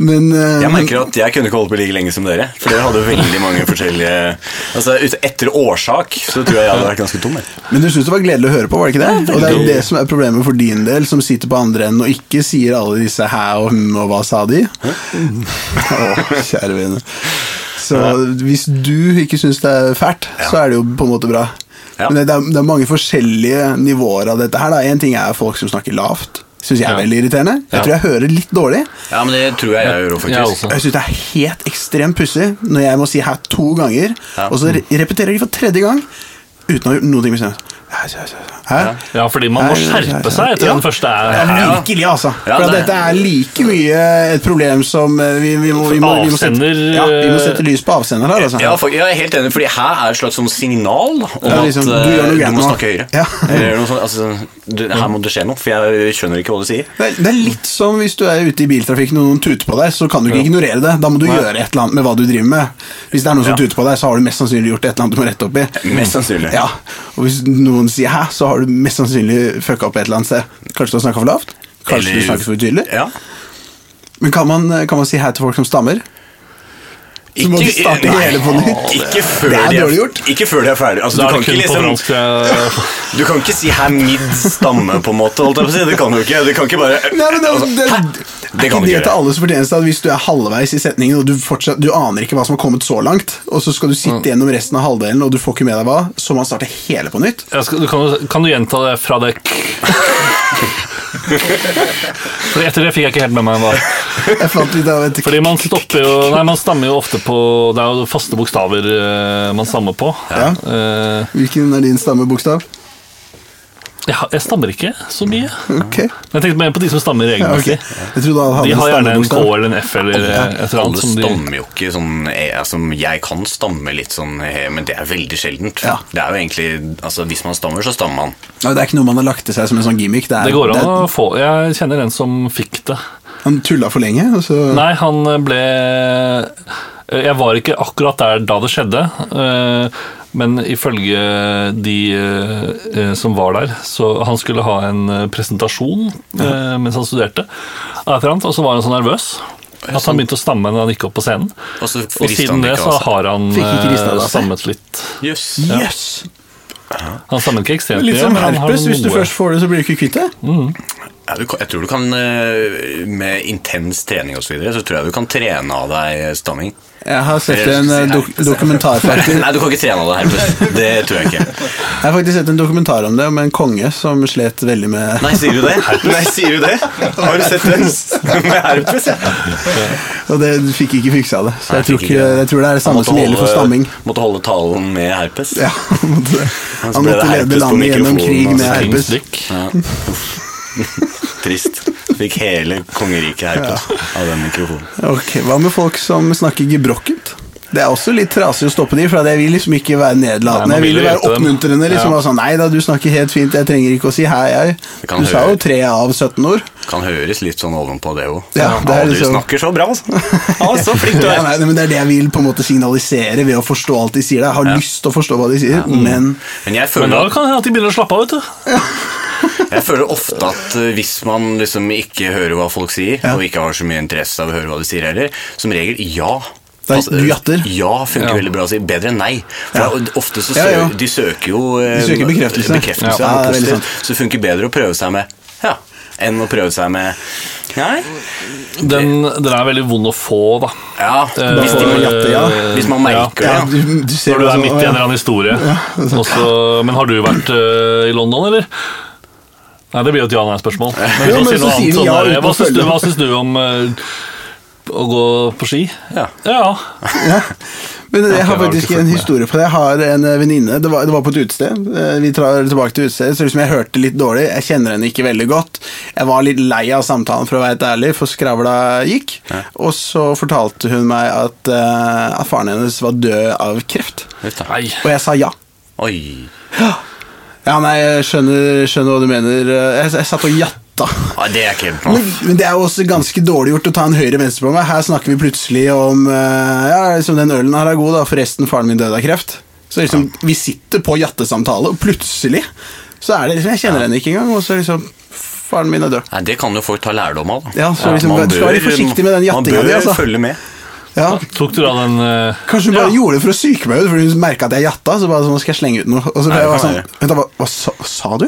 A: Men eh,
B: Jeg merker at jeg kunne ikke holdt på like lenge som dere. For dere hadde veldig mange forskjellige Altså, ut- Etter årsak så tror jeg jeg hadde vært ganske tom. jeg.
A: Men du syns det var gledelig å høre på, var det ikke det? Og det er jo det som er problemet for din del, som sitter på andre enden og ikke sier alle disse hæ og hm og hva sa de? Å, kjære vene. Så hvis du ikke syns det er fælt, så er det jo på en måte bra.
B: Ja.
A: Men det er, det er mange forskjellige nivåer av dette her. da. Én ting er folk som snakker lavt. Syns jeg er veldig irriterende. Jeg tror jeg hører litt dårlig.
B: Ja, men det tror jeg jeg gjør òg,
C: Jeg
B: faktisk.
C: også.
A: Jeg syns det er helt ekstremt pussig når jeg må si hæ to ganger,
B: Ja.
A: og så re- repeterer de for tredje gang uten å ha gjort noen ting med seg. Hæ? Hæ? Hæ?
C: Ja, fordi man må
A: Nei, nei, nei,
C: skjerpe seg etter
A: ja.
C: den første
A: Ja,
C: er
A: virkelig, altså.
B: Ja,
A: For at
B: det-
A: dette er like mye et problem som eh, vi, vi, må, vi, må, vi, må, sette,
C: Avsender, eh,
A: ja, vi må sette lys på avsender her, altså.
B: Ja, for, jeg er helt enig, fordi her er et slags sånn signal da, om
A: Ja, liksom,
B: at
A: du gjør noe
B: eh,
A: gærent
B: du må
A: nå.
B: snakke høyere.
A: Ja.
B: Eller noe sånt, altså, du, her må det skje noe, for jeg skjønner ikke hva du sier.
A: Det er, det er litt som hvis du er ute i biltrafikken og noen tuter på deg, så kan du ikke ignorere det. Da må du gjøre et eller annet med hva du driver med. Hvis det er noen som
B: Ja.
A: tuter på deg, så har du mest sannsynlig gjort et eller annet du må rette opp i.
B: Mest sannsynlig.
A: Ja, og hvis noen sier hæ, så har du mest sannsynlig fucka opp et eller annet sted. Kanskje du har snakka for lavt? Kanskje
B: Eller-
A: du snakker for tydelig?
B: Ja.
A: Men kan man, eh, kan man si hæ til folk som stammer? Så må du starte
B: nei.
A: hele på nytt.
B: Ikke før,
A: Det er
B: de er,
A: dårlig gjort.
B: ikke før de er ferdige. Altså,
C: Da
B: du,
C: er
B: kan
C: det
B: ikke,
C: kun på
B: liksom,
C: fransk jeg-
B: du kan ikke si 'her midd stamme', på en måte. Holdt jeg på å si. Det kan du ikke. Du kan ikke bare Altså,
A: Nei, men det, det,
B: Hæ?
A: Altså, er
B: Det
A: ikke
B: kan du
A: det
B: ikke
A: til
B: gjøre.
A: alles fortjeneste at hvis du er halvveis i setningen og du, fortsatt, du aner ikke hva som har kommet så langt, og så skal du sitte gjennom resten av halvdelen og du får ikke med deg hva, så må man starte hele på nytt?
C: Jeg skal, du kan, jo- kan du gjenta det fra det k- Fordi etter det fikk jeg ikke helt med meg hva
A: Jeg fant litt av et
C: Fordi man stopper jo Nei, man stammer jo ofte på Det er jo faste bokstaver eh, man stammer på.
A: Ja.
C: Eh,
A: Hvilken er din stammebokstav?
C: jeg, har- jeg stammer ikke så mye.
A: Ok.
C: Men jeg tenkte mer på de som stammer
A: Ja, ok.
C: regelmessig.
A: Jeg trodde han
C: De
A: hadde en
C: har gjerne en K
A: stammebokstav.
C: eller en F eller eh, et eller
B: Alle
C: annet. Som de,
B: stammer jo ikke sånn eh, altså, Jeg kan stamme litt sånn, eh, men det er veldig sjeldent.
A: Ja.
B: Det er jo egentlig, altså Hvis man stammer, så stammer man.
A: Ja, Det er ikke noe man har lagt til seg som en sånn gimmick. Det, er,
C: det går
A: det
C: an å
A: er,
C: få Jeg kjenner en som fikk det.
A: Han tulla for lenge, og så
C: Nei, han ble Jeg var ikke akkurat der da det skjedde, eh, men ifølge de eh, som var der Så han skulle ha en eh, presentasjon eh, mens han studerte, et eller annet, og så var han så nervøs. At han begynte å stamme når han gikk opp på scenen.
B: Og så
C: Og
B: rister han
C: siden det
B: ikke altså.
C: så
B: av seg.
C: har han
A: Fikk ikke altså. ristet det
C: eh,
A: av seg.
C: stammet litt.
B: Jøss.
A: Jøss!
C: Han stammet ikke ekstremt
A: Litt
C: mye,
A: som
C: men han har
A: herpes. Hvis du
C: noe-
A: først får det, så blir du ikke kvitt det.
B: Ja, du, kan- jeg tror du kan eh, Med intens trening og så, videre, så tror jeg du kan trene av deg eh, stamming.
A: Jeg har sett
B: Eller
A: en eh,
B: skal jeg si
A: dok
B: herpes?
A: dokumentarfaktor
B: Nei, du kan ikke trene av deg herpes. Det tror jeg ikke.
A: Jeg har faktisk sett en dokumentar om det, om en konge som slet veldig med
B: Nei, sier du det? Nei, sier du det? Har du sett den med herpes?
A: Og det fikk ikke fiksa det. Så
B: Nei,
A: jeg tror,
B: fikk
A: ikke,
B: ikke.
A: jeg tror det er det samme som gjelder for stamming.
B: Måtte holde talen med herpes.
A: Ja, han måtte, han
B: ble det
A: måtte lede
B: herpes på
A: landet gjennom
B: mikrofonen,
A: krig med
B: altså.
A: herpes.
C: Slingsdykk.
B: Ja. Uff. Trist. Fikk hele kongeriket herpes av den mikrofonen.
A: Ok, Hva med folk som snakker gebrokkent? Det er også litt trasig å stoppe de, for jeg vil liksom ikke være
C: Nei,
A: nedlatende.
C: man
A: Jeg vil
C: vil
A: jo
C: jo
A: være
C: hjelpe dem.
A: oppmuntrende. liksom
C: Ja.
A: bare sånn, Nei da, du snakker helt fint, jeg trenger ikke å si hei, jeg.
B: Det kan
A: Du sa
B: høre.
A: jo tre av 17 ord.
B: Kan høres litt sånn ovenpå det òg.
A: Ja, det er
B: du
A: liksom-
B: snakker så bra, altså. Ja, så flink du
A: Ja,
B: er.
A: nei, men Det er det jeg vil på en måte signalisere ved å forstå alt de sier. da. Jeg har lyst til å forstå hva de sier,
C: Mm.
A: men
B: Men jeg
C: Men da
B: føler,
C: kan det hende at de begynner å slappe av. vet du
B: jeg føler ofte at eh, hvis man liksom ikke hører hva folk sier, og ikke har så mye interesse av å høre hva de sier heller, som regel ja. Altså,
A: Da du jatter.
B: ja funker veldig bra å si. Bedre enn nei. For da- ofte så
A: Ja,
B: søker
A: ja.
B: de søker jo eh,
A: De søker bekreftelse.
B: bekreftelse
A: Ja.
B: av noe
A: Ja, det er veldig
B: positivt. Så det funker bedre å prøve seg med ja enn å prøve seg med nei.
C: Den, den er veldig vond å få, da.
B: Ja,
C: Eh,
B: hvis, de,
A: får jatte, ja.
B: hvis man merker
A: ja,
B: det.
A: du, du ser
C: Når du
A: jo
C: er
A: sånn,
C: midt i
A: å,
C: en
A: ja.
C: eller annen historie. Og så- men har du vært eh, i London, eller? Nei, det blir jo et ja-nei-spørsmål. Men
A: Jo,
C: hvis
A: men
C: man sier
A: så
C: noe annet
A: sier vi
C: sånn
A: ja
C: der,
A: uten
C: Hva
A: å
C: syns du,
A: følge.
C: hva syns du om eh, å gå på ski?
B: Ja.
C: Ja.
A: Men jeg har
C: Ok, har du
A: faktisk
C: ikke fulgt
A: en
C: med?
A: historie på det. Jeg har en eh, venninne. Det, var- det var på et utested. Eh, Vi drar tilbake til utestedet. Så liksom jeg hørte litt dårlig. Jeg kjenner henne ikke veldig godt. Jeg var litt lei av samtalen, for å være helt ærlig, for skravla gikk. Og så fortalte hun meg at, eh, at faren hennes var død av kreft.
B: Uff da.
C: Nei.
A: Og jeg sa ja.
B: Oi.
A: Ja, nei, jeg skjønner, skjønner hva du mener. Eh, Jeg, jeg satt og jatta.
B: Ja, det er altså. ikke helt
A: Men, men det er jo også ganske dårlig gjort å ta en høyre-venstre på meg. Her snakker vi plutselig om eh, Ja, liksom den ølen her er god, da. Forresten, faren min døde av kreft. Så liksom, vi sitter på jattesamtale, og plutselig så er det liksom Jeg kjenner henne ikke engang, og så liksom Faren min er død.
B: Nei, Det kan jo folk ta lærdom av. da.
A: Ja, så liksom,
B: man
A: du skal være
B: bør-
A: forsiktig med den jattinga
B: Man
A: di,
B: bør
A: altså.
B: følge med.
A: Ja.
C: Tok du da den eh,
A: Kanskje hun bare
C: ja.
A: gjorde det for å psyke meg ut, fordi hun merka at jeg jatta. Så bare sånn, skal jeg slenge ut noe Og så ble
B: Nei,
A: jeg
B: det
A: bare
B: kan
A: sånn Vent, da, hva, hva, sa, hva sa du?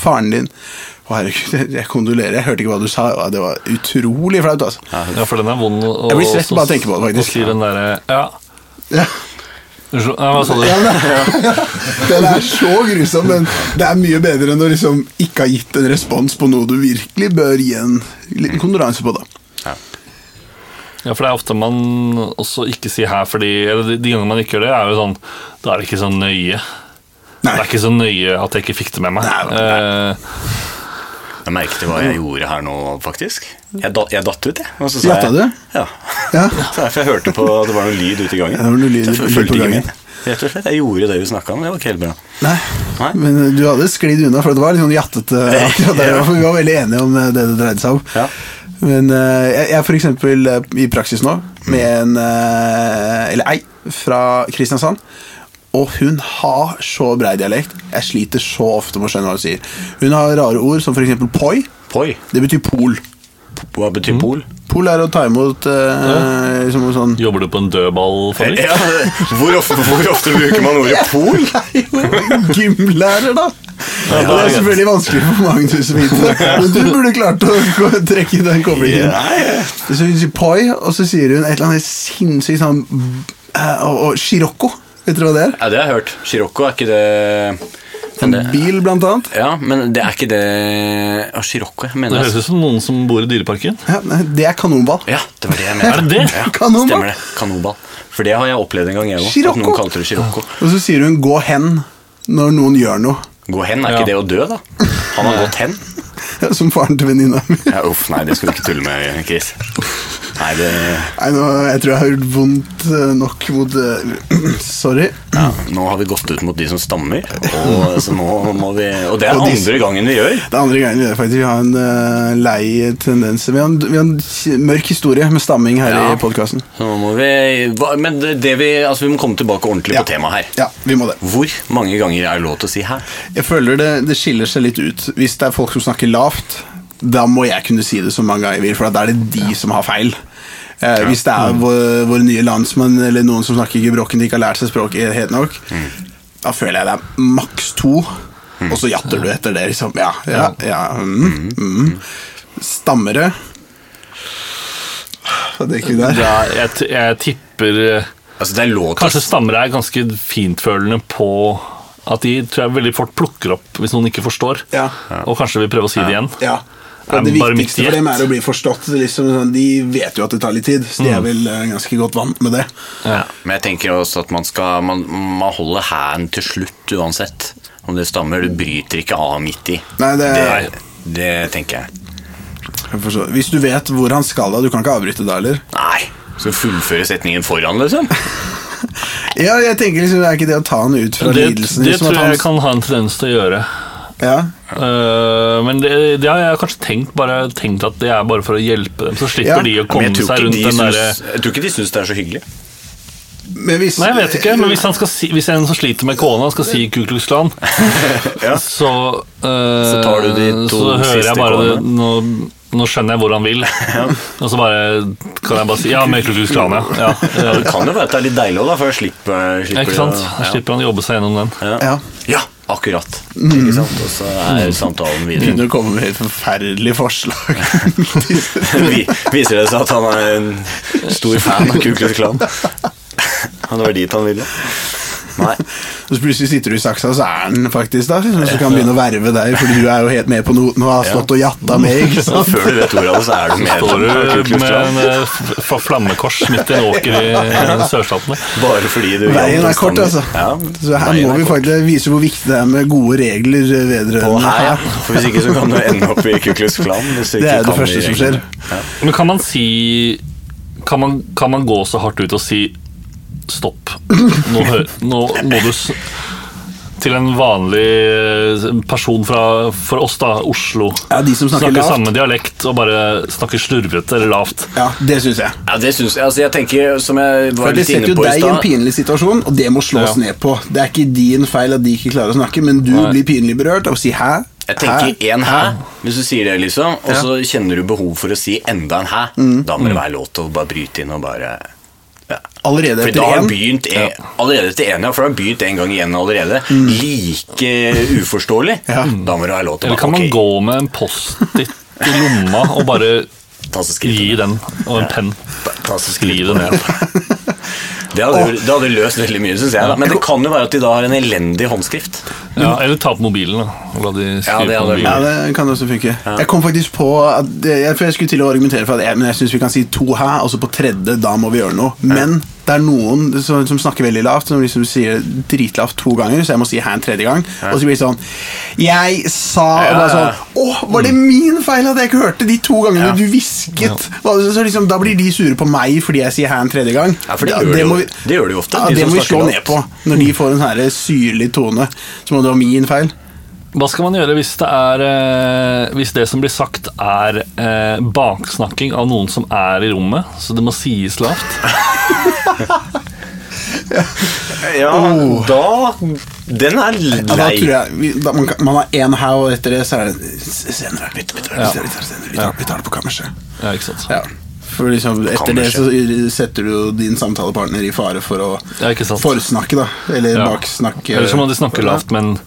A: Faren din Å, herregud, jeg, jeg kondolerer. Jeg hørte ikke hva du sa. Ja, Det var utrolig flaut, altså.
C: Ja, for den er vond. å-
A: Jeg blir svett
C: å-
A: bare av å tenke på det, faktisk.
C: å si den derre Ja.
A: Ja.
C: Unnskyld. Nei, hva sa du?
A: Ja, men- Den er så grusom, men det er mye bedre enn å liksom ikke ha gitt en respons på noe du virkelig bør gi en liten kondolanse på. da.
C: Ja, for det er ofte man også ikke sier her, fordi eller de, de gangene man ikke gjør det, er jo sånn Da er det ikke så nøye.
A: Nei.
C: Det er ikke så nøye at jeg ikke fikk det med meg.
A: Nei,
C: Eh,
B: Jeg merket hva jeg gjorde her nå, faktisk. Jeg, da, jeg datt ut, jeg. Og så
A: Jatta
B: jeg,
A: du?
B: Ja.
A: Ja.
B: Så derfor jeg hørte på at det var noe lyd ute i gangen.
A: det var noe lyd- lyd
B: Så jeg
A: på
B: fulgte ikke
A: gangen.
B: med. Rett og slett. Jeg gjorde det vi snakka om. Det var ikke helt bra.
A: Nei.
B: Nei.
A: Men eh, du hadde sklidd unna, for det var litt sånn jattete akkurat der. For vi var veldig enige om eh, det det dreide seg om.
B: Ja.
A: Men eh, jeg jeg er for eksempel eh, i praksis nå med en eh, Eller ei fra Kristiansand. Og hun har så brei dialekt. Jeg sliter så ofte med å skjønne hva hun sier. Hun har rare ord som f.eks. poi.
B: Poi.
A: Det betyr pol.
B: Hva
A: Mm.
B: betyr pol?
A: Pol er å ta imot eh, liksom en sånn
C: jobber du på en dødball, Fanny?
B: Ja, hvor, ofte, hvor ofte bruker man ordet pol?
A: Gymlærer, da! det
B: Ja,
A: er
B: ja.
A: selvfølgelig vanskelig for Magnus å vite, men du burde klart å gå- trekke den koblingen.
B: Nei.
A: Så hun sier poi, og så sier hun et eller annet sinnssykt sånn eh, Og, og Scirocco. Vet dere hva det er?
B: Ja, det har jeg hørt. Scirocco er ikke det
A: En bil, blant annet.
B: Ja, men det er ikke det Ja, Scirocco, jeg
C: Det
B: mener
C: høres
B: jeg.
C: ut som noen som bor i Dyreparken.
A: Ja, nei, det er kanonball.
B: Ja, det var det jeg mente.
C: Er det det?
B: Ja,
A: Kanonball.
B: Stemmer det. Kanonball. For det har jeg opplevd en gang, jeg òg. At
A: Scirocco.
B: noen kalte det Scirocco.
A: Og så sier hun 'gå hen' når noen gjør noe.
B: Gå hen, er
C: Ja.
B: ikke det å dø, da? Han har gått hen.
A: Som faren til venninna mi.
B: Ja, uff, nei, det skal du ikke tulle med, Chris. Nei, det
A: Nei, nå, Jeg tror jeg har gjort vondt eh, nok mot eh, Sorry.
B: ja, Nå har vi gått ut mot de som stammer, og, så nå må vi, og det er
A: Og de-
B: andre gangen vi gjør.
A: Det er andre gangen vi gjør faktisk. Vi har en eh, lei tendens Vi har en, vi har en s- mørk historie med stamming her
B: Ja.
A: i podkasten.
B: Så nå må vi, hva- men det det vi, altså, vi må komme tilbake ordentlig på temaet her.
A: Ja, vi må det.
B: Hvor mange ganger er det lov til å si her?
A: Jeg føler det, det skiller seg litt ut. Hvis det er folk som snakker lavt, da må jeg kunne si det så mange ganger jeg vil, for da er det de som har feil. Eh, hvis det er vår- våre nye landsmenn eller noen som snakker gebrokken de ikke har lært seg språket helt nok, da føler jeg det er maks to, og så jatter du etter det, liksom. Mm. Ja, ja, ja. Mm, mm. Stammere Hva drikker vi der?
C: Ja, jeg, t- jeg tipper eh,
B: Altså, det er lov til å
C: Kanskje stammere er ganske fintfølende på at de tror jeg veldig fort plukker opp hvis noen ikke forstår.
A: Ja.
C: Og kanskje vil prøve å si det igjen.
A: Ja.
C: Er
A: det
C: det bare mitt
A: viktigste for dem er å bli forstått. Det er Liksom, sånn, de vet jo at det tar litt tid, så de er
C: Mm.
A: vel eh, ganske godt vant med det.
B: Ja, men jeg tenker også at man, skal, man, man holder hæren til slutt uansett. Om det stammer, du bryter ikke av midt i.
A: Nei, det-
B: det, det tenker jeg.
A: Jeg forstår. Hvis du vet hvor han skal da, du kan ikke avbryte da, eller?
B: Nei, Skal du fullføre setningen foran, liksom?
A: Ja, jeg tenker liksom, Er ikke det å ta han ut fra
C: Det,
A: lidelsen?
C: det
A: liksom,
C: tror
A: at han-
C: jeg kan ha en tendens til å gjøre.
A: Ja.
C: Eh, men det, det har jeg kanskje tenkt Bare tenkt at det er bare for å hjelpe dem. Så slipper
A: Ja,
C: de å
B: Men
C: komme
B: jeg tror,
C: seg
B: ikke
C: rundt
B: de
C: den derre
B: syns, jeg tror ikke de syns det er så hyggelig.
A: Men hvis,
C: Nei, jeg vet ikke, men hvis, han skal si, hvis en som sliter med kona, skal si Ku Klux Klan, så, eh,
B: Så tar du de to
C: så hører
B: siste
C: jeg bare
B: kålene.
C: det, nå, nå skjønner jeg hvor han vil, og så bare kan jeg bare si Ja, med Ku Klux Klan, ja. ja.
B: Det kan jo være at det er litt deilig òg, for jeg slipper,
C: ja
B: slipper
C: ikke sant?
B: å-
C: Da slipper han å jobbe seg gjennom den.
A: Ja. Mm.
B: Ja, akkurat. Ikke sant? Og så er samtalen videre.
A: Begynner å komme med helt forferdelige forslag.
B: Vi, viser det seg at han er en stor fan av Ku Klux Klan. Han var dit han ville. Nei.
A: Og så plutselig sitter du i saksa, så er han faktisk der. Og så kan han begynne å verve deg, fordi du er jo helt med på noten og har stått og jatta med. ikke
B: Så
A: sant?
B: før du vet ordet av det, så er du med.
C: Står
B: på Ku
C: du
B: Klux
C: med
B: Klan.
C: en eh, f- f- flammekors midt i en åker i eh, sørstatene?
B: Bare fordi du
A: Veien er
B: gjaldt
A: kort,
B: en
A: altså.
B: standard.
A: Så her
B: veien
A: må
B: er
A: vi
B: kort.
A: faktisk vise hvor viktig det er med gode regler
B: Og
A: vedrørende
B: her, ja.
A: her.
B: For hvis ikke så kan du ende opp i Ku Klux Klan. Hvis du
A: Det
B: ikke
A: er det
B: kan
A: første
B: de
A: som skjer.
B: reglene. Ja.
C: Men kan man si kan man, kan man gå så hardt ut og si stopp? Nå, hø- nå må du s Til en vanlig eh, person fra for oss, da, Oslo.
A: Ja, de som snakker lavt.
C: samme dialekt og bare snakker slurvete eller lavt.
A: Ja, det syns jeg.
B: Ja, det syns jeg. Altså, jeg tenker, som jeg
A: For
B: var
A: Det
B: litt
A: setter
B: inne
A: jo
B: på i
A: deg i en
B: stad
A: pinlig situasjon, og det må slås
C: Ja.
A: ned på. Det er ikke din feil at de ikke klarer å snakke, men du
C: Nei.
A: blir pinlig berørt av å si 'hæ'?
B: Jeg
A: Hæ?
B: tenker én hæ, hvis du sier det, liksom, og så kjenner du behov for å si enda en hæ.
A: Mm.
B: Da må det være lov til å bare bryte inn og bare ja.
A: Allerede
B: For
A: etter
B: da har
A: én.
B: han begynt en, allerede etter en, ja, for da har han begynt en gang igjen allerede.
A: Mm.
B: Like uforståelig. Da må det være lov til å
C: Eller kan
B: bare,
C: man
B: ok,
C: gå med en Post-It i lomma og bare
B: ta så skritt,
C: gi den, og en penn?
B: ta så skritt
C: Skrive det ned.
B: Det hadde, jo- det hadde løst veldig mye, syns jeg. Da. Men det kan jo være at de da har en elendig håndskrift.
C: Ja, eller ta på mobilen, da. Og la de
B: Ja, det
C: skrive på
B: hadde vært
A: Ja,
C: mobilen.
A: det kan også funke. Jeg kom faktisk på at jeg, For jeg skulle til å argumentere for at jeg, men jeg syns vi kan si to hæ, og så på tredje, da må vi gjøre noe. Men det er noen som, som snakker veldig lavt, som liksom sier dritlavt to ganger, så jeg må si hæ en tredje gang. Og så blir det sånn Jeg sa og bare
B: Ja, ja.
A: sånn Å, var det min feil at jeg ikke hørte de to gangene
B: Ja.
A: du hvisket? Hva- Så liksom, da blir de sure på meg fordi jeg sier hæ en tredje gang.
B: Ja, for det
A: Da-
B: gjør de jo-
A: må vi-
B: det gjør de jo ofte,
A: Ja,
B: de
A: det
B: som
A: må vi
B: snakker
A: slå
B: lavt.
A: ned på. Når de får en sånn her syrlig tone, så må det være min feil.
C: Hva skal man gjøre hvis det, er, eh, hvis det som blir sagt, er eh, baksnakking av noen som er i rommet? Så det må sies lavt?
B: Ja, da Den er lei.
A: Oh. Ja, da tror jeg, vi- da, man, kan- man har én her, og etter det så er det s- senere. Vi, vi, tar, det-
C: Ja.
A: vi, tar, det senere. vi, tar, vi tar det på kammerset.
C: Ja, ikke sant?
A: Ja. For liksom, etter det så setter du jo din samtalepartner i fare for å
C: Ja, ikke sant?
A: forsnakke, da. Eller
C: Ja.
A: baksnakke.
C: Eller så må de snakke lavt, men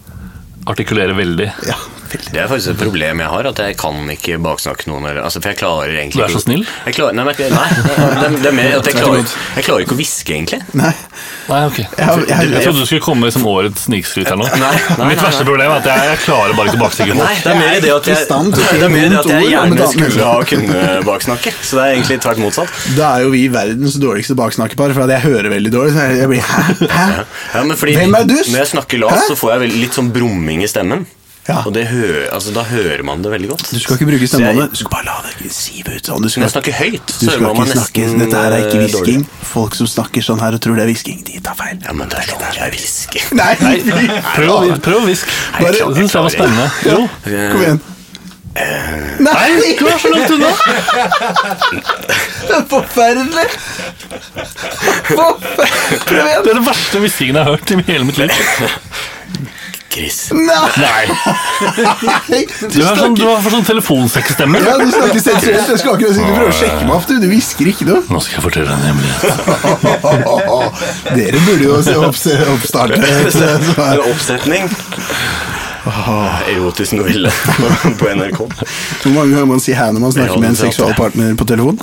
C: artikulere veldig.
A: Ja, veldig.
B: Det er faktisk et problem jeg har, at jeg kan ikke baksnakke noen. Eller, altså, for jeg klarer egentlig
C: Du er så snill.
B: Jeg klarer, nei, men jeg- nei, det, det er mer at jeg klarer, jeg klarer ikke å hviske, egentlig.
A: Nei,
C: Nei, ok.
A: jeg, har- jeg,
C: Jeg
A: har-
C: trodde du skulle komme som årets snikskryt her nå.
B: Nei, nei, nei,
C: Mitt verste problem er at jeg, jeg klarer bare ikke å baksnakke
B: Nei,
C: folk.
B: det er mer det at
A: i
B: jeg,
A: stand til å
B: det er mer det at jeg
A: bruke vondt ord om et
B: gjerne
A: annet
B: skulle ha kunnet baksnakke. Så det er egentlig tvert motsatt.
A: da er jo vi verdens dårligste baksnakkepar, for at jeg hører veldig dårlig. Så jeg, jeg blir Hæ? Hæ?
B: Ja, men fordi
A: Hvem er du?
B: Når jeg snakker lavt,
A: Hæ?
B: så får jeg vel litt sånn brumming i stemmen.
A: Ja.
B: Og det hø altså, da hører man det veldig godt.
A: Du skal ikke bruke
B: Så
A: stemmebåndet.
B: jeg-
A: Du skal bare la det sive ut. Sånn. Du
B: Når
A: skal
B: jeg snakker høyt, så
A: Du
B: hører
A: skal
B: man meg
A: ikke snakke,
B: nesten
A: dette her er ikke
B: eh,
A: hvisking. Folk som snakker sånn her og tror det er hvisking, de tar feil.
B: Ja, men det er sånn jeg hvisker.
A: Nei,
C: Prøv, å- prøv å hvisk.
A: Bare-
C: Det syns jeg var spennende. Jo.
A: kom igjen. Nei,
C: Eh, Du er så langt unna!
A: det er forferdelig! Forfer- Prøv
C: Det
A: igjen.
C: er den verste hviskingen jeg har hørt i hele mitt liv.
B: Chris.
A: Nei,
C: Nei.
A: du
C: Du er sånn, du
A: snakker
C: har for sånn telefonseksstemme.
A: ja, du snakker sensuelt. Jeg skal akkurat si du prøver å sjekke meg opp, du. Du hvisker ikke noe.
C: Nå skal jeg fortelle deg en hemmelighet.
A: Dere burde jo se oppse- oppstarte et sånt
B: En
A: her.
B: oppsetning. Erotisk novelle på NRK.
A: Hvor mange ganger man sier hæ når man snakker med en seksualpartner på telefon?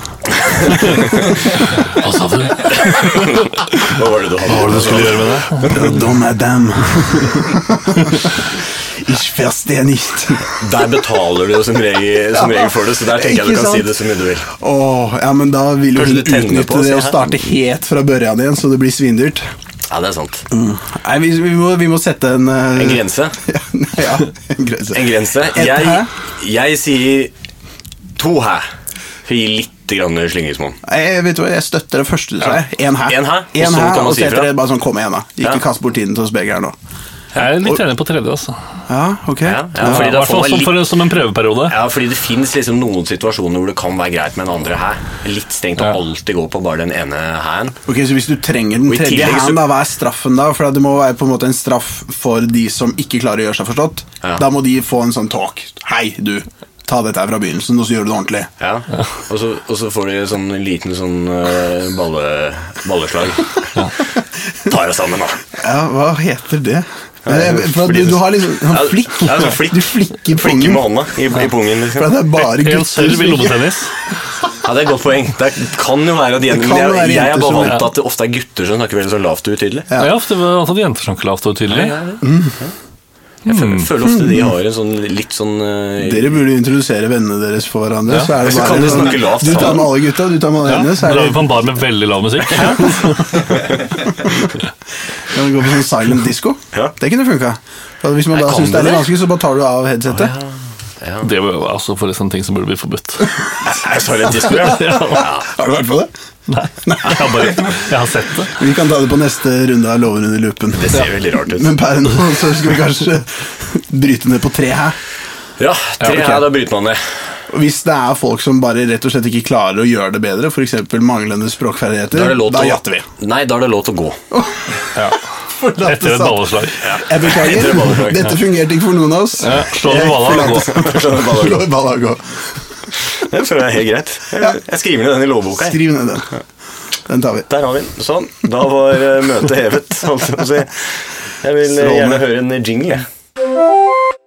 C: Hva sa du?
B: Hva var det du hadde?
C: gjøre med det?
A: Pardon, madame. Ich verstehe nicht.
B: Der betaler du jo som regel, som regel for det, så der tenker
A: Ikke
B: jeg du kan si
A: sant?
B: det så mye du vil.
A: Åh, ja, men da vil jo
B: Kanskje
A: hun
B: du tenner
A: utnytte
B: på Mm. å si
A: det og
B: hæ?
A: starte helt fra børjan igjen, så det blir svindyrt.
B: Ja, det er sant.
A: Mm. Nei, vi, vi, må, vi må sette en eh,
B: Mm. En grense.
A: Ja, ja, en grense.
B: En grense.
A: Et hæ?
B: Jeg, jeg sier to hæ. Gi litt grann slingringsmonn.
A: Jeg, vet du hva, jeg støtter det første du sa. jeg. En her.
B: En her, og
A: En
B: så
A: her,
B: kan man
A: og
B: si
A: så heter
B: ifra.
A: det bare sånn kom igjen, da. Ikke
B: Ja.
A: kast bort tiden til oss begge her nå.
C: Jeg er litt enig på tredje. altså.
A: Ja, ok.
B: Ja, ja,
C: I
B: fordi da
C: hvert
B: får
C: fall
B: man
C: som,
B: litt-
C: for, som en prøveperiode.
B: Ja, fordi det fins liksom noen situasjoner hvor det kan være greit med den andre her. Litt strengt å
C: Ja.
B: alltid gå på bare den ene hæren.
A: Ok, Så hvis du trenger den
B: Og i
A: tredje
B: tillegg så-
A: hand, da, hva er straffen da? For det må være på en måte en straff for de som ikke klarer å gjøre seg forstått.
B: Ja.
A: Da må de få en sånn talk. Hei, du. Ta dette her fra begynnelsen, og så gjør du det ordentlig.
B: Ja. Og, så, og så får de sånn liten sånn eh, balle, balleslag. Ta deg sammen, da.
A: Ja, hva heter det?
B: jeg-
A: For at du, du har liksom sånn
B: Ja,
A: flikk.
B: ja, sånn flikk.
A: Du flikker
B: Flikke
A: pungen.
B: med hånda i, i pungen.
A: For
B: Liksom.
A: at det er bare
C: En
A: gutter
C: selv i
A: som ikke
C: lommetennis.
B: Ja, Det er et godt poeng. Det er, kan jo være at jenter,
A: kan
B: men
A: være
B: jeg, jeg
A: jenter
B: er bare
A: som-
B: vant til at det ofte er gutter som snakker veldig så lavt og utydelig.
C: Ja. ofte var det antall jenter som ikke lavt og tydelig.
A: Mm.
B: Jeg føler, føler ofte de har en sånn litt sånn eh,
A: Dere burde introdusere vennene deres for hverandre. Så er det
B: Så
A: bare
B: kan de
A: sånn,
B: snakke lavt
A: Du tar
B: sammen.
A: med alle gutta, du tar med alle
C: Ja,
A: henne. Så
C: Drar
A: er
C: vi på
A: det,
C: en bar med veldig lav musikk?
A: kan vi gå på sånn silent disco.
B: Ja.
A: Det kunne funka. For Hvis man
B: Nei,
A: da
B: kan
A: syns det er
B: det
A: litt
B: det?
A: vanskelig, så bare tar du av headsetet.
C: Det var jo altså for sånne ting som burde bli forbudt.
B: Jeg sa litt disco, ja.
C: Ja.
A: Har du vært på det?
C: Nei, jeg har, bare, jeg har sett det.
A: Vi kan ta det på neste runde av Loven under lupen.
B: Det ser veldig rart ut.
A: Men per nå så skal vi kanskje bryte ned på tre her.
B: Ja, tre
A: Ja, ok.
B: her, da bryter man ned.
A: Og Hvis det er folk som bare rett og slett ikke klarer å gjøre det bedre, f.eks. manglende
B: Da
A: språkferdigheter,
B: er det lov til
A: da
B: å-
A: jatter vi.
B: Nei, da er det lov til å gå.
A: Forlatte
C: Etter et
A: sal.
C: balleslag.
A: Jeg
B: Etter et
A: beklager,
B: balleslag, ja.
A: dette fungerte ikke for noen av oss.
C: Ja, slå med balla og gå.
A: Slå i balla og gå.
B: Det føler jeg er helt greit. Jeg, jeg skriver ned den i lovboka. jeg.
A: Skriv ned den. Den tar vi.
B: Der har vi den. Sånn. Da var eh, møtet hevet. holdt jeg på å si. Jeg vil eh, gjerne høre en jingle. jeg.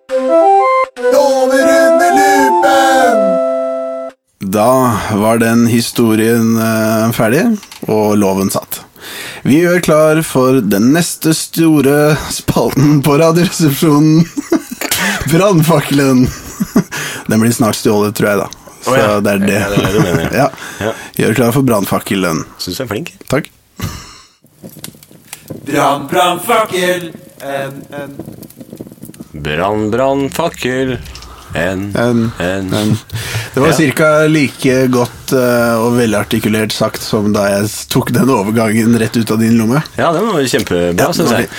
A: Da var den historien eh, ferdig, og loven satt. Vi gjør klar for den neste store spalten på Radioresepsjonen. Brannfakkelen. Den blir snart stjålet, tror jeg, da. Så
B: Å, ja.
A: det er det.
B: Ja, det er det du mener,
A: ja.
B: Ja.
A: Gjør klar for brannfakkelen.
B: Syns du er flink?
A: Takk.
D: Bram, bram, fakkel. En, en,
B: Brann, brann, fakkel. En,
A: En,
B: en,
A: en. Det var
B: Ja.
A: cirka like godt eh, og velartikulert sagt som da jeg tok den overgangen rett ut av din lomme.
B: Ja, den var kjempebra, syns jeg.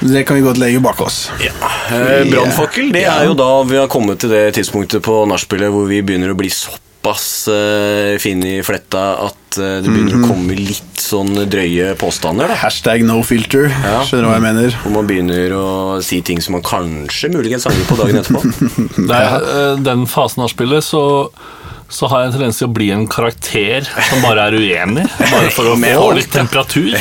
A: Det kan vi godt legge bak oss.
B: Ja. Eh, Brannfakkel, det er jo da vi har kommet til det tidspunktet på nachspielet hvor vi begynner å bli såpass eh, fine i fletta at eh, det begynner å komme litt sånn drøye påstander. da.
A: Hashtag no filter.
B: Ja.
A: Skjønner du hva jeg mener?
B: Hvor man begynner å si ting som man kanskje muligens angrer på dagen etterpå.
C: Det er, eh, den fasen av spillet, så, så har jeg en tendens til å bli en karakter som bare er uenig. Bare for å få litt temperatur.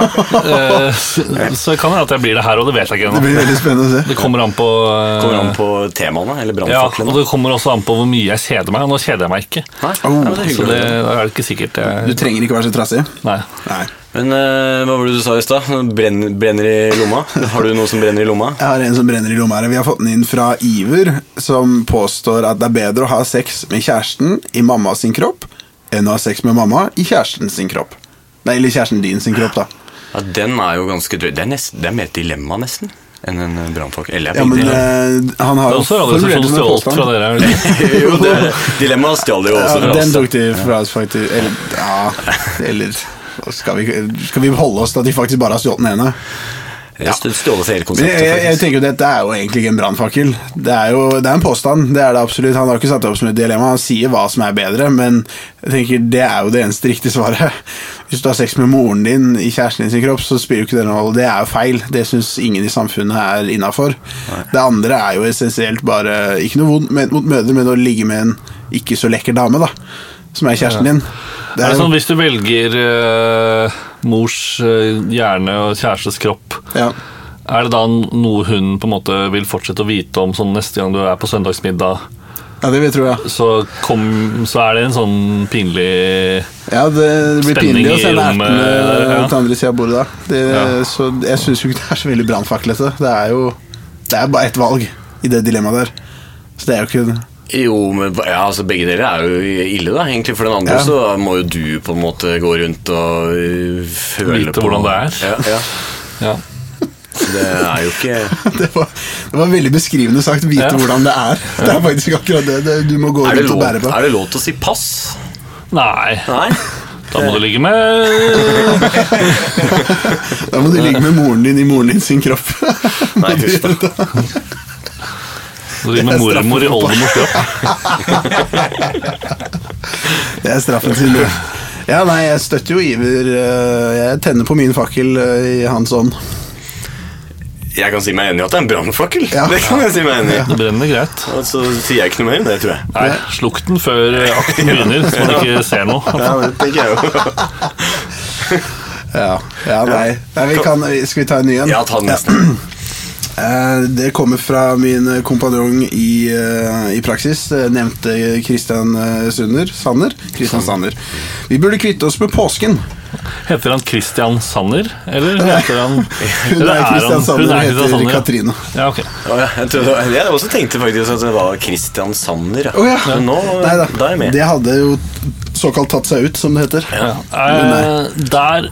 C: Eh, Så så det kan hende at jeg blir det her, og det vet jeg ikke
A: Det
C: ennå.
A: blir veldig spennende å se.
C: Det kommer an på eh,
B: Kommer an på temaene, eller
C: ja, og
B: brannfaklene.
C: det kommer også an på hvor mye jeg kjeder meg. Og nå kjeder jeg meg ikke.
B: Nei, ja, men det er
C: Så
B: hyggelig.
C: det da er det ikke sikkert
A: Du
C: jeg
A: trenger ikke være så trassig.
C: Nei.
A: Nei.
B: Men eh, hva var det du sa i stad? Brenn, brenner i lomma? Har du noe som brenner i lomma?
A: Jeg har en som brenner i lomma her. Vi har fått den inn fra Iver, som påstår at det er bedre å ha sex med kjæresten i mamma sin kropp enn å ha sex med mamma i kjæresten sin kropp. Nei, eller kjæresten din sin kropp, da.
B: Ja, den er jo ganske drøy. Det er, nest, det er mer et dilemma, nesten, enn en eh, brannfakkel. Eller
A: Ja,
B: jeg
A: men
B: begynner-
A: eh, han har
C: Det er
A: jo
C: også
A: formulert det med
C: radioresepsjonen stjålet
A: påstand.
C: fra dere. er det ikke?
B: Jo, det- Dilemmaet stjal det jo også
A: eh, Ja,
B: fra
A: den
B: oss. da.
A: tok de fra oss, faktisk. Eller, ja, eller skal vi, skal vi holde oss til at de faktisk bare har stjålet den ene?
B: Ja. Stjålet hele
A: Men jeg,
B: konseptet,
A: jeg, jeg
B: faktisk.
A: tenker jo Dette er jo egentlig ikke en brannfakkel. Det er jo det er en påstand. det er det absolutt. Han har ikke satt det opp som et dilemma. Han sier hva som er bedre, men jeg tenker det er jo det eneste riktige svaret. Hvis du har sex med moren din i kjæresten din sin kropp, så spiller jo ikke det noen rolle. Det er jo feil. Det syns ingen i samfunnet er innafor. Det andre er jo essensielt bare Ikke noe vondt ment mot mødre, men å ligge med en ikke så lekker dame, da. Som er kjæresten din. Det
C: Er
A: er
C: det
A: jo,
C: sånn hvis du velger eh, mors eh, hjerne og kjærestes kropp
A: ja.
C: Er det da noe hun på en måte vil fortsette å vite om sånn neste gang du er på søndagsmiddag?
A: ja, det vil jeg tro, ja.
C: Så, kom, så er det en sånn pinlig
A: Ja, det blir
C: Spenning
A: pinlig å
C: i
A: sende
C: rommet,
A: ertene
C: ja.
A: til andre sida av bordet da. Det,
C: Ja.
A: Så jeg syns jo ikke det er så veldig brannfaklete. Det er jo det er bare ett valg i det dilemmaet der. Så det er jo ikke
B: Jo, men ja, altså, begge dere er jo ille, da, egentlig. For den andre
A: Ja.
B: så må jo du på en måte gå rundt og øh, føle
C: Vite
B: på
C: hvordan det er.
B: Ja, ja.
C: Ja.
B: Det er jo ikke
A: Det var, det var veldig beskrivende sagt. Vite
C: Ja.
A: hvordan det er. Det er faktisk akkurat det, det du må gå
B: er det,
A: rundt og
B: lov,
A: bære på.
B: er det lov til å si pass?
C: Nei,
B: Nei?
C: da må du ligge med
A: Da må du ligge med moren din i moren din sin kropp. Må
B: Nei,
A: du
B: husk
A: gjøre det.
C: du ligger med mormor i oldemors kropp.
A: Det er straffen sin. det. Ja, nei, jeg støtter jo Iver. øh, Jeg tenner på min fakkel øh, i hans ånd.
E: Jeg kan si meg enig i at det er en brannfakkel.
A: Ja.
E: Det kan jeg si meg enig i.
C: Det brenner greit.
E: Og så sier jeg ikke noe mer enn det, tror jeg.
C: Nei, slukk den før eh, akten begynner, så man ikke ser noe.
E: Ja, det tenker jeg jo.
A: Ja, ja nei. nei vi kan, skal vi ta en ny en?
E: Ja, ta den neste.
A: Eh, Det kommer fra min kompanjong i, eh, i praksis, eh, nevnte Kristian Sunder. Sanner. Christian Sanner. Vi burde kvitte oss med påsken.
C: Heter han Christian Sanner, eller heter han
A: Hun
C: eller
A: er
C: han-
A: Kristian Sanner
C: hun er
A: og
C: Christian
A: heter
C: Sanner, ja.
A: Katrine.
C: Ja, ok.
B: Å, ja, jeg, trodde, jeg også tenkte faktisk at det var Christian Sanner.
A: Å ja.
B: Men nå
A: Nei da.
B: da er jeg med.
A: Det hadde jo såkalt tatt seg ut, som det heter. Men nei.
C: Eh, der,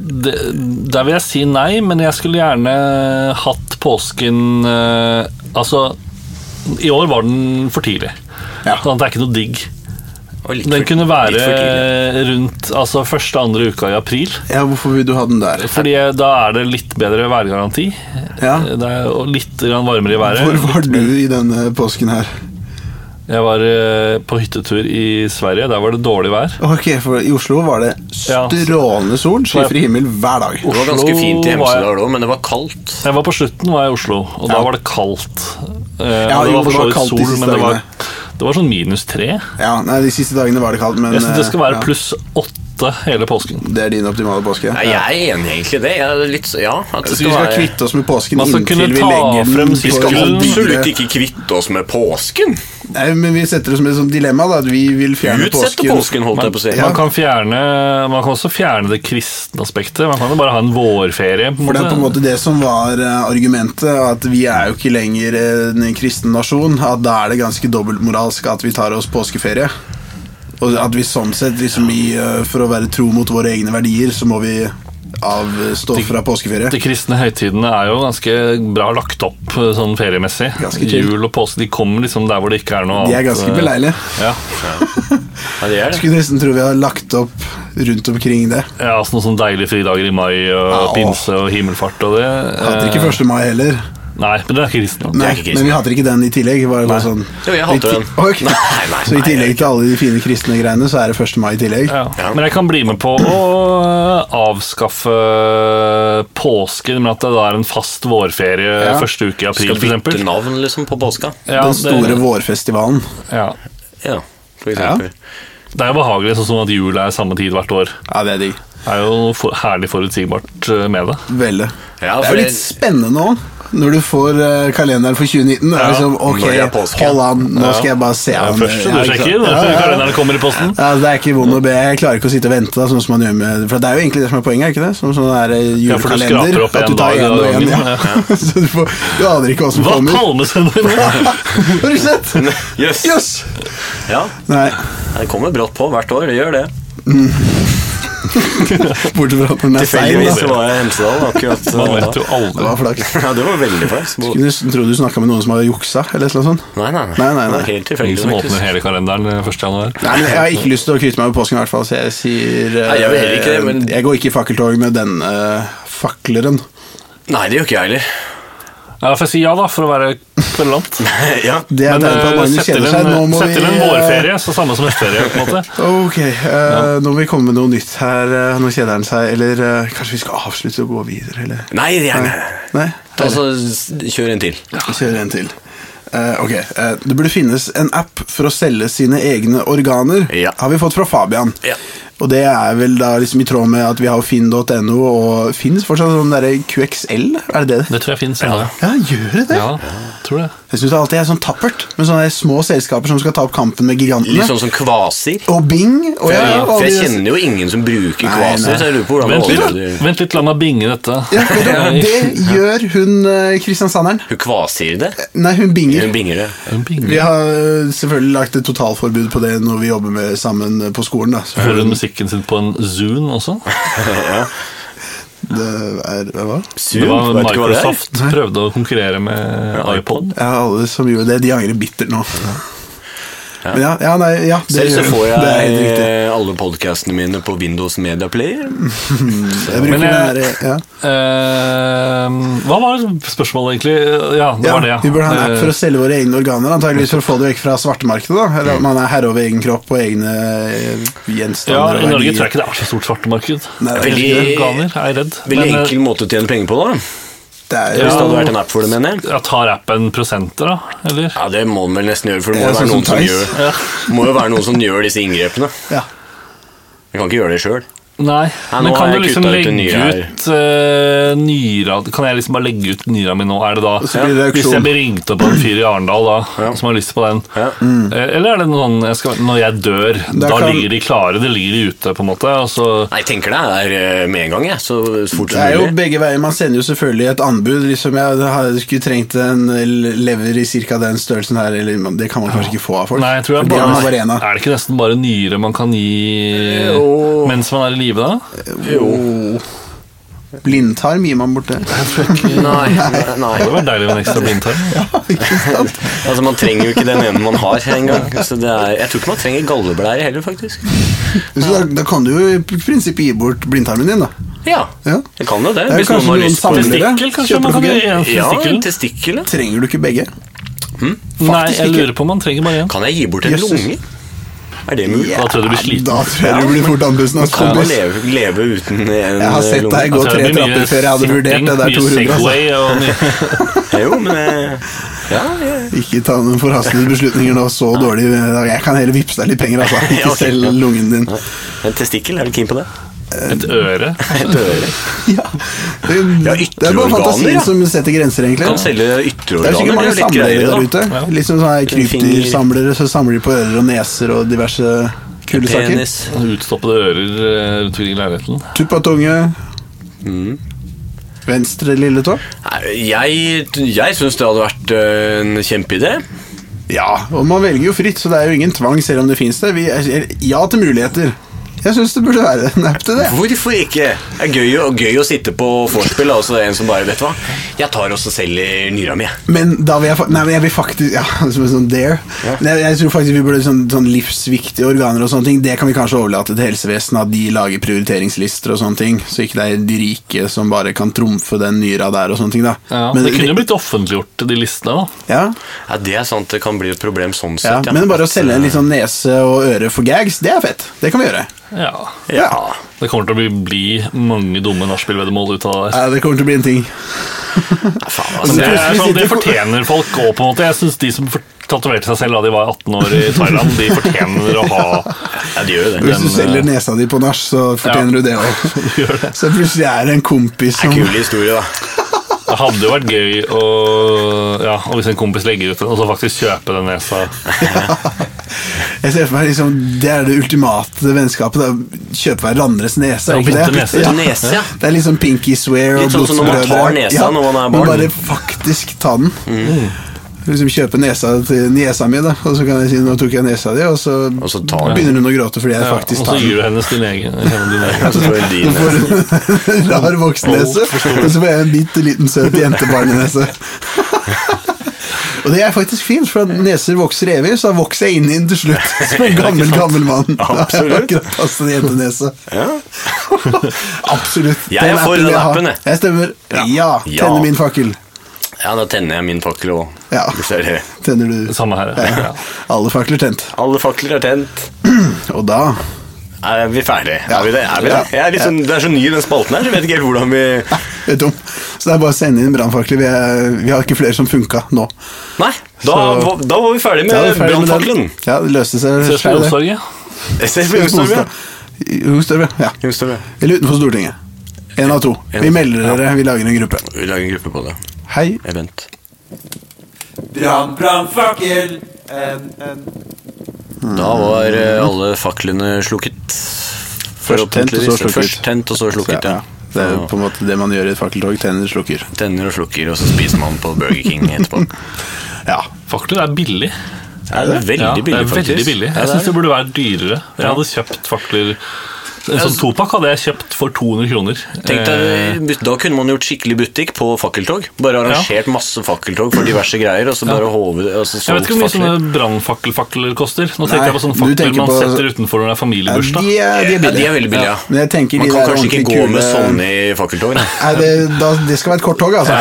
C: det, der vil jeg si nei, men jeg skulle gjerne hatt påsken eh, Altså, i år var den for tidlig.
A: Ja.
C: Sånn at det er ikke noe digg.
B: Og litt
C: Den
B: for-
C: kunne
B: litt for tidlig.
C: være rundt altså første andre uka i april.
A: Ja, hvorfor vil du ha den der?
C: Fordi da er det litt bedre værgaranti.
A: Ja.
C: Det er jo litt grann varmere i været.
A: Hvor var du i denne påsken her?
C: Jeg var eh, på hyttetur i Sverige. Der var det dårlig vær.
A: Ok, for I Oslo var det
C: Ja. Oh.
A: strålende sol, skyfri himmel hver dag.
B: Det var ganske
C: Oslo
B: fint i
C: var jeg-
B: Hemsedal òg, men det var kaldt.
C: Jeg var på slutten var jeg i Oslo, og da
A: Ja.
C: var det kaldt. Eh,
A: Ja,
C: og det
A: jo, det
C: var for så
A: var
C: vidt
A: kaldt de
C: sol,
A: siste
C: men det var,
A: dagene.
C: det var sånn minus tre.
A: Ja, nei, De siste dagene var det kaldt, men
C: Jeg synes det skal
A: eh,
C: være
A: ja,
C: pluss åtte hele påsken.
A: Det er din optimale påske.
B: Nei, jeg er enig egentlig i det. Jeg er litt, så- ja, at det
A: Så vi skal
B: være-
A: kvitte oss med påsken
C: Man skal
A: inntil
C: kunne
A: vi
C: ta
A: legger den
C: frem
A: på
E: Vi skal
A: en
E: absolutt
A: videre-
E: ikke kvitte oss med påsken.
A: Nei, men vi setter det som et sånt dilemma, da, at vi vil fjerne
B: Utsette påsken, holdt jeg på å si.
C: Man kan, fjerne, man kan også fjerne det kristne aspektet. Man kan jo bare ha en vårferie. På en
A: For det er på en
C: måte.
A: måte det som var eh, argumentet, at vi er jo ikke lenger en kristen nasjon. At da er det ganske dobbeltmoralsk at vi tar oss påskeferie. Og at vi sånn sett, liksom i, eh, for å være tro mot våre egne verdier, så må vi avstå fra påskeferie.
C: De kristne høytidene er jo ganske bra lagt opp eh, sånn feriemessig.
A: Ganske chill.
C: Jul og påske de kommer liksom der hvor det ikke er noe
A: De er
C: annet,
A: ganske
C: eh,
A: beleilige.
C: Ja,
B: Ja, det er det.
A: Skulle nesten tro vi har lagt opp rundt omkring det.
C: ja altså Noen sånne deilige fridager i mai
A: Ja.
C: og pinse og himmelfart og det.
A: Hater ikke 1. mai heller.
C: eh, Nei, men det er ikke kristne.
A: Nei,
B: ikke kristne.
A: men vi hater ikke den i tillegg. Bare bare sånn,
B: Jo, jeg hater
A: I ti-
B: den.
A: Ok.
B: Nei, nei,
A: så i
B: nei, jeg
A: tillegg til alle de fine kristne greiene, så er det 1. mai i tillegg.
C: Ja. Men jeg kan bli med på å eh, avskaffe eh, påsken, men at det da er en fast vårferie
A: Ja.
C: første uke i april,
B: Skal bytte
C: f.eks.
B: navn liksom på påska.
C: Ja,
A: Den store vårfestivalen.
C: det, ja.
B: Ja, for eksempel.
C: det er jo behagelig, sånn som at jul er samme tid hvert år.
A: Ja, det er digg.
C: Det er jo for, herlig forutsigbart eh, med det.
A: Veldig. det
B: Ja, for
A: er jo litt
B: det-
A: spennende òg, når du får eh, kalenderen for 2019. Det er liksom, ok,
B: når det er påske.
A: hold an, nå skal jeg bare se
C: Det er
A: an. Ja,
C: først du
A: ikke sant?
C: sjekker, da,
A: Ja,
C: så
A: ja, ja.
C: kalenderen kommer i posten.
A: Ja, det er ikke vondt å be. Jeg klarer ikke å sitte og vente. Da, sånn som man gjør med, for Det er jo egentlig det som er poenget. er ikke det? Som sånn der eh,
C: Ja, for du
A: julekalender.
C: skraper opp
A: at du
C: en
A: tar
C: dag
A: en
C: av
A: og en,
C: gangen,
A: ja. Så du, får, du aner ikke hva som
C: Hva
A: kommer.
C: palmesøndag?
A: Har du sett?
B: Jøss.
A: Jøss!
B: Ja,
A: Nei,
B: det kommer brått på hvert år. Det gjør det.
A: bortsett fra at den er sein.
B: Tilfeldigvis så
A: da.
B: var jeg i Hemsedal akkurat
C: Man
B: eh,
C: vet
B: da.
C: jo aldri.
A: Det var flaks.
B: Ja, det var veldig flaut.
A: Skulle nesten tro du snakka med noen som hadde juksa. eller noe sånt.
B: Nei, nei, nei.
A: Nei, nei,
B: Det var
A: nei.
B: Helt
C: Ingen
B: tilfeldig,
C: som åpner
B: faktisk.
C: hele kalenderen eh, 1. januar.
A: Nei, men Jeg har ikke lyst til å kvitte meg med påsken, i hvert fall, så jeg sier eh,
B: Nei, jeg vil heller ikke det, men-
A: Jeg går ikke i fakkeltog med den eh, fakleren.
B: Nei, det gjør ikke jeg heller.
C: Ja, får jeg si ja, da, for å være kverulant.
B: Ja,
A: Det er
C: Men
A: tegn på at
C: eh,
A: Magnus
C: sett til
A: kjeder
C: en,
A: seg. Nå må
C: sett
A: vi
C: til en
A: eh,
C: vårferie, så samme som høstferie. på en måte.
A: Ok, eh, nå må vi komme med noe nytt her. eh, nå kjeder han seg. Eller eh, kanskje vi skal avslutte og gå videre, eller?
B: Nei, det er, nei, nei.
A: Nei?
B: Ta så Altså, s- kjør en til.
A: Vi kjører en til. Eh, ok, eh, Det burde finnes en app for å selge sine egne organer,
B: Ja.
A: har vi fått fra Fabian.
B: Ja.
A: Og det er vel da liksom i tråd med at vi har finn.no, og finnes fortsatt sånn derre QXL? Er det det?
C: Det tror jeg fins. Ja.
A: Ja, gjør det det?
C: ja, tror det.
A: Jeg syns det alltid er sånn tappert med sånne små selskaper som skal ta opp kampen med gigantene.
B: Litt sånn som kvaser.
A: Og Bing. Og ja,
B: Ja,
A: og
B: for
A: alle
B: jeg
A: de-
B: kjenner jo ingen som bruker
A: Nei,
B: kvaser,
A: nei.
B: så jeg lurer på hvordan
C: Vent
B: alle
C: litt,
B: de-
C: vent litt, la meg binge dette.
A: ja, vet du hva? det gjør hun eh, Kristiansanderen.
B: Hun kvaser det?
A: Nei, hun
B: Hun
A: binger.
B: binger det.
C: En binge.
A: Vi har eh, selvfølgelig lagt et totalforbud på det når vi jobber med sammen eh, på skolen. Da.
C: Hører hun
A: Selvfølgelig.
C: musikken sin på en Zoom også?
A: Det er hva?
B: Zoom?
C: Det var
B: Vet ikke hva det er.
C: Microsoft prøvde å konkurrere med iPod.
A: Ja, alle som gjorde det, de angrer bittert nå. Men ja, ja, nei, ja det
B: Selv så
A: gjør du.
B: får
A: Det er helt
B: jeg
A: riktig.
B: eh, alle podcastene mine på Windows Media Player.
A: Jeg bruker
C: Men jeg-
A: det her, ja.
C: Eh, hva var spørsmålet, egentlig? Ja, det
A: Ja,
C: var det, ja.
A: Vi burde ha en app
C: Eh,
A: for å selge våre egne organer, antageligvis for å få det vekk fra svartemarkedet. da. Eller at man er herre over egen kropp og egne eh,
C: ja,
A: gjenstander.
C: I
A: og
C: Norge
A: verdier.
C: tror jeg ikke det er så stort svartemarked.
A: Nei, det er
C: Veldig
B: ikke det.
C: organer, er jeg redd.
B: Veldig
C: Men, eh,
B: enkel måte å tjene penger på, da.
A: Det er,
B: Hvis
A: ja.
B: det hadde vært en app for det, mener jeg.
C: ja, tar appen prosenter, da? Eller?
B: Ja, Det må den vel nesten gjøre, for det må,
A: Ja,
B: jo være,
A: sånn
B: noen
A: som
B: som
A: Tice.
B: gjør, må jo være noen som gjør disse inngrepene. Vi kan ikke gjøre det sjøl.
C: Nei.
B: Nei, nå
C: Men
B: har
C: kan du
B: jeg
C: liksom
B: kuttet ut
C: legge
B: en nyre her.
C: ut eh, nyra Kan jeg liksom bare legge ut nyra mi nå? Er det da
A: så blir det auksjon.
C: Hvis jeg blir ringt opp av en fyr i Arendal da, som har lyst på den,
B: Ja.
C: eh, eller er det noen jeg skal, Når jeg dør,
A: Da
C: da,
A: kan-
C: ligger de klare, det ligger de ute, på en måte. Og så
B: Nei, jeg tenker det er eh, med en gang, jeg. Så fort
A: Det
B: som
A: er jo
B: mulig.
A: begge veier. Man sender jo selvfølgelig et anbud. liksom Jeg har- skulle trengt en lever i cirka den størrelsen her, eller man- det kan man kanskje ikke få av folk.
C: Nei, jeg tror
A: For
C: jeg
A: de
C: bare,
A: har bare en av.
C: Er det ikke nesten bare nyre man kan gi
B: Jo.
C: mens man er i live, da?
A: Åh. Oh. Blindtarm gir man bort det.
B: Nei, nei,
C: Det
B: nei.
C: hadde vært deilig med en ekstra blindtarm.
A: ikke sant?
B: Altså, Man trenger jo ikke den ene man har engang. Så det er- Jeg tror ikke man trenger galleblære heller, faktisk.
A: Så da, da kan du jo i prinsippet gi bort blindtarmen din, da.
B: Ja,
A: Ja.
B: jeg kan jo det.
A: Det er
B: Hvis noen
A: kanskje
B: har
A: noen
B: lyst på
A: samlere.
C: Testikkel, kanskje?
A: Kjøper
C: Man kan
A: dere?
C: gi en
B: Ja,
C: testikkel?
B: testikkel. ja.
A: Trenger du ikke begge?
C: Nei,
A: Faktisk
C: jeg
A: ikke.
C: lurer på om man trenger bare én.
B: Kan jeg gi bort en
A: Jøsses.
B: lunge? Er det mulig?
C: Da tror jeg du blir sliten.
A: Da tror jeg du blir fort andpusten. ass,
B: Kan man
A: kompis.
B: leve, leve uten en eh, lunge?
A: Jeg har sett deg gå
C: Altså,
A: tre
C: det blir mye
A: trapper før jeg hadde vurdert det der
C: sitting, mye
A: 200. Altså.
C: Segway og mye-
B: Jo, men eh, ja, ja.
A: Ikke ta noen forhastede beslutninger nå, så dårlig. Jeg kan heller vippse deg litt penger, altså. Ikke
B: Ja, ok.
A: selg lungen din.
B: En testikkel, er du keen på det?
C: et øre.
B: Et øre.
A: Ja. Det,
B: Ja,
A: det er bare
B: ytterorganer,
A: fantasien
B: ja.
A: som setter grenser,
B: Kan
A: egentlig.
B: selge
A: Det er
B: ytterorganer.
A: sikkert mange
B: litt
A: samlere der
B: greiere, da.
A: ute. Liksom sånne krypdyrsamlere, så samler de på ører og neser og diverse kule saker.
B: Penis.
C: Utstoppede ører eh, rundt omkring i leiligheten.
A: Tupp av tunge. Venstre lille tå.
B: Nei, Jeg, jeg syns det hadde vært eh, en kjempeidé.
A: Ja, og man velger jo fritt, så det er jo ingen tvang selv om det fins det. Vi er, ja til muligheter. Jeg syns det burde være en app til det.
B: Hvorfor ikke? Det er gøy, å- gøy å sitte på vorspiel, og så er det en som bare Vet du hva, jeg tar også selger nyra mi. jeg.
A: Men da vil jeg, fa- nei, men jeg vil faktisk Ja, som en sånn dare. Men Jeg, jeg tror faktisk vi burde sånn, sånn livsviktige organer og sånne ting. Det kan vi kanskje overlate til helsevesenet, at de lager prioriteringslister og sånne ting. Så ikke det er de rike som bare kan trumfe den nyra der og sånne ting, da.
C: Ja,
A: Men-
C: det kunne jo blitt offentliggjort, de listene. da
A: ja,
B: Ja, Det er sant, det kan bli et problem sånn
A: ja.
B: sett. ja.
A: Men bare å selge
C: eh,
A: en litt sånn nese og øre for gags, det er fett. Det kan vi gjøre.
C: Ja,
A: Ja.
C: Det kommer til å bli, bli mange dumme nachspielveddemål ut av det.
A: ja det kommer til å bli en ting.
B: Faen,
C: Men
B: altså.
C: Det, er
A: Plutselig
C: sånn, det
A: sitter-
C: fortjener folk òg, på en måte. Jeg synes De som for- tatoverte seg selv da de var 18 år i Thailand, de fortjener å ha
B: Ja, det gjør jo det. eh,
A: Hvis du
C: Den,
A: selger nesa di på nach, så fortjener du det
C: gjør
A: òg.
C: det.
A: Så plutselig er det en kompis som
B: Det er kule historier, da.
C: Det hadde jo vært gøy å ja, og hvis en kompis legger ut den, og så faktisk kjøpe den nesa.
A: Jeg ser for meg liksom, Det er det ultimate vennskapet. Da. Kjøpe hverandres nese. er
C: Ja, bytte
A: ikke det?
C: nese.
A: Ja.
B: Nese, ja.
A: Det er liksom pinky swear og
B: Litt sånn som når man
A: blodsbrødre.
B: tar nesa når man er
A: men
B: barn. Mm.
A: Bare faktisk ta den. Liksom Kjøpe nesa til niesa mi, da. og så kan jeg si 'nå tok jeg nesa di', og så,
B: Og så tar den.
A: begynner hun å gråte fordi jeg
C: Ja, og
A: faktisk
C: så
A: tar den.
C: gir du hennes din egen. henne din egen.
B: Og så får du din.
A: Så får hun en rar voksennese, og så får jeg en bitte liten søt jentebarnenese. Og det er faktisk fint, for at neser vokser evig, så da vokser jeg inn i den til slutt. Som en gammel, gammel mann. Da har jeg
B: Absolutt.
A: akkurat passet en jentenese. Absolutt.
B: Jeg er for
A: vil
B: den
A: ha.
B: appen, jeg.
A: Jeg stemmer.
B: Ja.
A: Ja.
B: Ja.
A: Tenner min fakkel.
B: Ja, da tenner jeg min fakkel òg.
A: Ja. Tenner du
B: Sånn,
C: Samme her.
A: Ja.
C: Ja.
A: Alle fakler tent.
B: Alle fakler er tent.
A: Og da
B: Er vi ferdige?
A: Ja.
B: Er vi det? Er vi det?
A: Ja.
B: Jeg er litt sånn, det er så ny i den spalten her, så jeg vet ikke helt hvordan vi
A: Vet du om. Så det er bare å sende inn brannfakler. Vi, er- vi har ikke flere som funka nå.
B: Nei, da,
A: Så-
B: var- da var vi ferdige
A: Ja, det
B: med
A: er ferdig med den.
B: brannfakkelen.
A: Ja, det løste seg.
C: Ses på
A: selv, det.
C: Omsorget.
B: Ses på
A: Ses på
B: Youngstorget.
A: onsdag. I- Youngstorget, ja.
B: Youngstorget.
A: Eller utenfor Stortinget. En av to. Vi melder dere, vi lager en gruppe.
B: Vi lager en gruppe på det.
A: Hei.
B: Event.
D: Brann, brannfakkel. En, en.
B: Da var eh, alle faklene slukket.
A: Først tent, og så slukket.
B: Først tent, og så slukket, ja.
A: Det er jo på en måte det man gjør i et fakkeltog. Tenner slukker.
B: Tenner og slukker, og så spiser man på Burger King etterpå.
A: Ja.
C: Fakler er billig.
B: Ja, det er veldig
C: Ja,
B: billig,
C: det er
B: faktisk.
C: veldig billig.
B: Ja,
C: Jeg
B: det
C: syns
B: er
C: det burde være dyrere. Jeg hadde kjøpt fakler En sånn topakk hadde jeg kjøpt for 200 kroner.
B: Tenk
C: Eh,
B: deg, Da kunne man gjort skikkelig butikk på fakkeltog. Bare arrangert masse fakkeltog for diverse greier. Og så bare altså håvet, og så
C: jeg
B: solgt
C: vet ikke hvor mye
B: fakler.
C: sånne brannfakkelfakler koster. Nå tenker
A: Nei,
C: jeg på sånne
A: du
C: fakler
A: tenker
C: man
A: på-
C: setter utenfor når det er
A: Ja, de,
C: familiebursdag.
A: er, de er
B: Ja,
A: billige.
B: de er veldig billige.
A: Men jeg tenker
B: Man
A: de
B: kan
A: der
B: kanskje ikke
A: ordentlig
B: gå med
A: kule-
B: sånn i fakkeltog. da.
A: Nei, det, da, det skal være et kort tog, altså.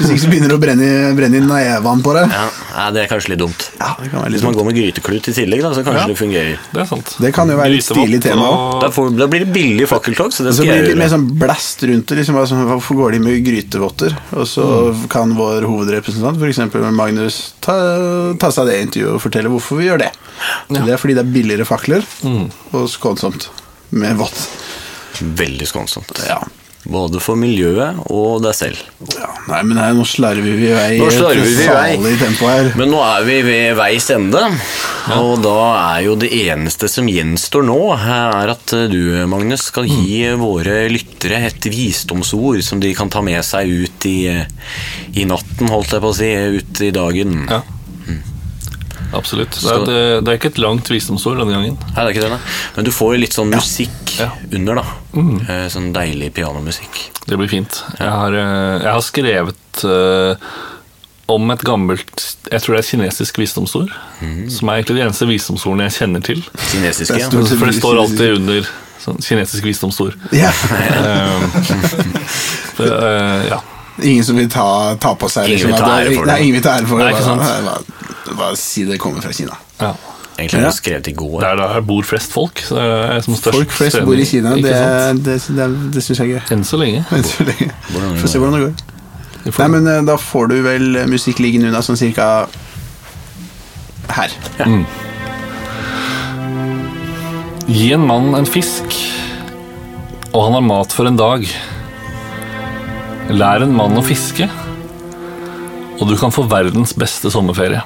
A: Hvis ikke så begynner det å brenne, brenne inn nevene på deg.
B: Ja, nei, det er kanskje litt dumt.
A: Ja, det kan være
B: Hvis
A: litt
B: man går med gryteklut i tillegg, da, så kanskje
C: Ja.
B: det fungerer.
C: Det er sant.
A: Det kan jo være litt
C: Grisevott
A: stilig tema også.
C: og-
B: Da, får, da blir det billig fakkeltog, så det
A: Så
B: skal
A: blir det litt
B: jeg
A: mer
B: gjøre.
A: sånn blast rundt det. Liksom, bare sånn, hvorfor går de med grytevotter? Og så
B: Mm.
A: kan vår hovedrepresentant, f.eks. Magnus, ta, ta seg av det intervjuet og fortelle hvorfor vi gjør det. Så Det er fordi det er billigere fakler
B: Mm.
A: og skånsomt med vått.
B: Veldig skånsomt.
A: Ja.
B: Både for miljøet og deg selv.
A: ja. Nei, men her, nå slarver vi i vei i
B: Nå
A: et
B: slarver vi i vei.
A: farlig tempo her.
B: Men nå er vi ved veis ende, og da er jo det eneste som gjenstår nå, er at du, Magnus, skal
A: Mm.
B: gi våre lyttere et visdomsord som de kan ta med seg ut i, i natten, holdt jeg på å si, ut i dagen.
C: Ja. Absolutt. Det er, det, det er ikke et langt visdomsord denne gangen.
B: Nei, det er ikke det, nei. Men du får litt sånn musikk
C: Ja.
B: under, da. Eh, Sånn deilig pianomusikk.
C: Det blir fint. Jeg har, eh, jeg har skrevet eh, om et gammelt Jeg tror det er et kinesisk visdomsord. Som er egentlig de eneste visdomsordene jeg kjenner til.
B: Kinesiske.
A: Mm. Det er
B: ja.
A: stort.
C: For det står alltid under sånn kinesisk visdomsord. Eh,
A: Ja.
C: Det, eh, ja.
A: Ingen som vil ta, ta på seg liksom,
B: Ingen vil
A: at
B: ta ære
A: det-
B: for det.
A: Nei, ingen vil ta ære for det.
C: Nei, ikke sant?
A: Bare, bare, bare, bare si det kommer fra Kina.
C: ja.
B: Egentlig er det skrevet i går.
C: Det er der bor flest folk. Så det er som størst
A: Folk flest bor i Kina.
C: trening,
A: Det,
C: ikke sant?
A: det, det, det syns jeg er gøy.
C: Enn så lenge.
A: Enn så lenge.
B: Hvordan
A: Får se hvordan det går.
C: Vi får-
A: Nei, men eh, da får du vel eh, musikk liggende unna sånn cirka her.
C: Mm. Gi en mann en fisk, og han har mat for en dag. Lær en mann å fiske, og du kan få verdens beste sommerferie.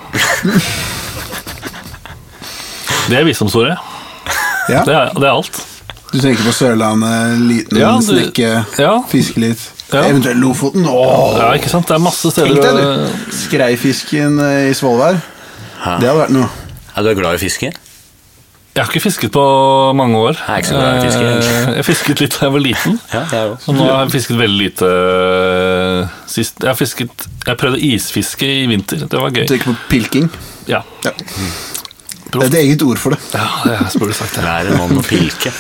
C: Det er visdomsordet.
A: Ja.
C: Det, er- det er alt.
A: Du tenker på Sørlandet, liten
C: Ja, du-
A: snekke,
C: ja.
A: fiske litt.
C: Ja.
A: Eventuelt Lofoten. Åh!
C: Ja, ikke sant? Det er masse steder
A: Tenk deg,
C: å-
A: du. Skreifisken eh, i Svolvær. Det hadde vært noe.
B: Er du glad i fiske?
C: Jeg har ikke fisket på mange år.
B: Jeg er ikke så glad i å fiske, egentlig.
C: Eh, Jeg fisket litt da jeg var liten.
B: Ja, jeg òg.
C: Og nå har jeg fisket veldig lite eh, sist. Jeg, har fisket, jeg prøvde isfiske i vinter. Det var gøy.
A: Du tenker på pilking.
C: Ja,
A: Ja. Det er et eget ord for det.
C: ja det burde du sagt. Det.
B: Lær en mann å pilke,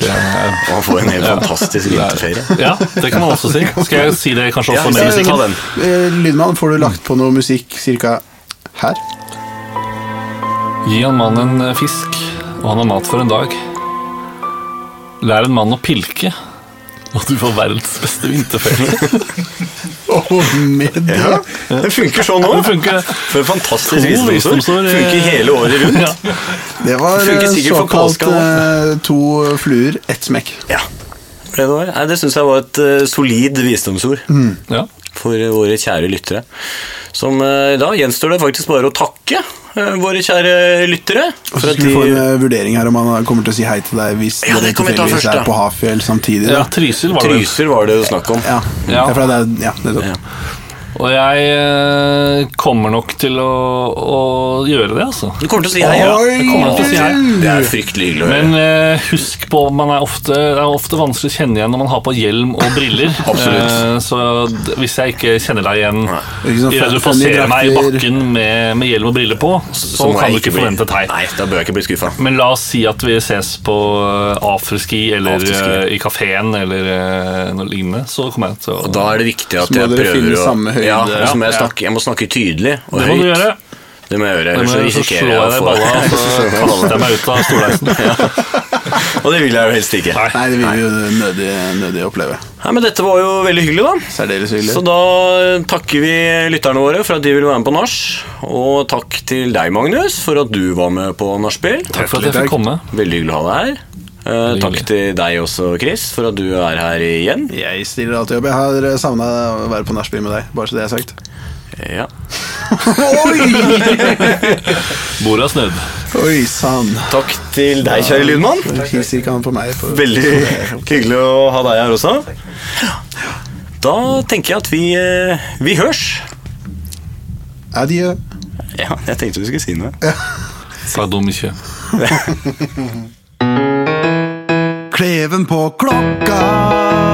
C: Det er,
B: og han får en helt fantastisk vinterferie.
C: ja, det kan man også si. Skal jeg si det kanskje
B: Ja,
C: også
B: si
C: med
B: det.
C: musikk?
B: Ta den.
A: Eh, Lydmann, får du lagt på noe musikk cirka her?
C: Gi en mann en eh, fisk, og han har mat for en dag. Lær en mann å pilke, og du får verdens beste vinterferie.
A: Åh, med det!
B: Ja, det funker sånn
C: Det
B: òg.
C: funker.
B: For en fantastisk
C: To
B: visdomsord.
C: visdomsord, eh.
B: Funker hele året rundt.
C: Ja.
A: Det var
B: Funker
A: eh,
B: sikkert for
A: såkalt
B: påska
A: eh, to fluer, ett smekk.
B: Ja. Det, var, nei, det syns jeg var et eh, solid visdomsord
C: Ja.
B: for eh, våre kjære lyttere. Som eh, da gjenstår det faktisk bare å takke eh, våre kjære lyttere.
A: Og
B: For
A: så
B: at
A: skulle vi få en
B: de,
A: eh, vurdering her om han kommer til å si hei til deg hvis
B: Ja,
A: dere
B: det kan vi ta
A: tilfeldigvis
B: først,
A: er
B: da.
A: på Hafjell samtidig.
C: ja,
A: Da.
C: Trysil var det. vel.
B: Trysil var det jo snakk om.
A: Ja.
C: Ja.
A: Ja. for det er, ja, nettopp.
B: Ja.
C: Og jeg eh, kommer nok til å, å gjøre det, altså.
B: Du kommer til å si hei, ja.
A: Oi,
B: Jeg kommer til å si hei.
A: du!
B: Det er fryktelig hyggelig å høre.
C: Men eh, husk på, man er ofte, det er ofte vanskelig å kjenne igjen når man har på hjelm og briller.
B: Absolutt.
C: Eh, så d- hvis jeg ikke kjenner deg igjen
B: Nei.
A: Ikke sånn
C: i det du
A: fem-
C: får se
A: fem
C: meg i
A: drakter.
C: bakken med, med hjelm og briller på, så,
B: må
C: kan
B: jeg
C: du ikke
B: bli-
C: forvente et hei.
B: Nei, da bør jeg ikke bli skuffa.
C: Men la oss si at vi ses på eh, afterski eller
B: Afterski.
C: eh, i kafeen eller eh, noe lignende. Så kommer jeg til å
B: Og da er det viktig at
A: Så må
B: jeg
A: dere
B: prøver
A: finne
B: å
A: samme høyde.
B: Ja, og så må jeg,
C: Ja.
B: snakke, jeg må snakke tydelig og
C: Det
B: høyt.
C: må du gjøre.
B: Det må jeg gjøre,
C: Men
B: ellers så
C: så slår
B: risikerer
C: jeg
B: jeg å
C: deg i
B: få
C: balla, og så kaster jeg meg ut av stolheisen.
B: Og det vil jeg jo helst ikke.
A: Nei, det vil vi jo nødig, nødig oppleve.
B: Nei, men dette var jo veldig hyggelig, da.
A: Særdeles hyggelig.
B: Så da takker vi lytterne våre for at de ville være med på nach. Og takk til deg, Magnus, for at du var med på nachspiel.
C: Takk for at jeg
A: Hjertelig
C: fikk komme.
B: Veldig hyggelig å ha deg her. Eh, takk
C: hyggelig.
B: til deg også, Chris, for at du er her igjen.
A: Jeg stiller alltid opp. Jeg har savna å være på nachspiel med deg, bare så det er sagt.
B: Ja.
C: Bordet er snødd.
A: Oi sann.
B: Takk til deg, kjære lydmann.
A: Hilser ikke han på meg. På.
B: Veldig hyggelig å ha deg her også. Da tenker jeg at vi, eh, vi hørs.
A: Adjø.
B: Ja, jeg tenkte du skulle si noe.
C: Sa dum ikke.
A: kleven på klokka.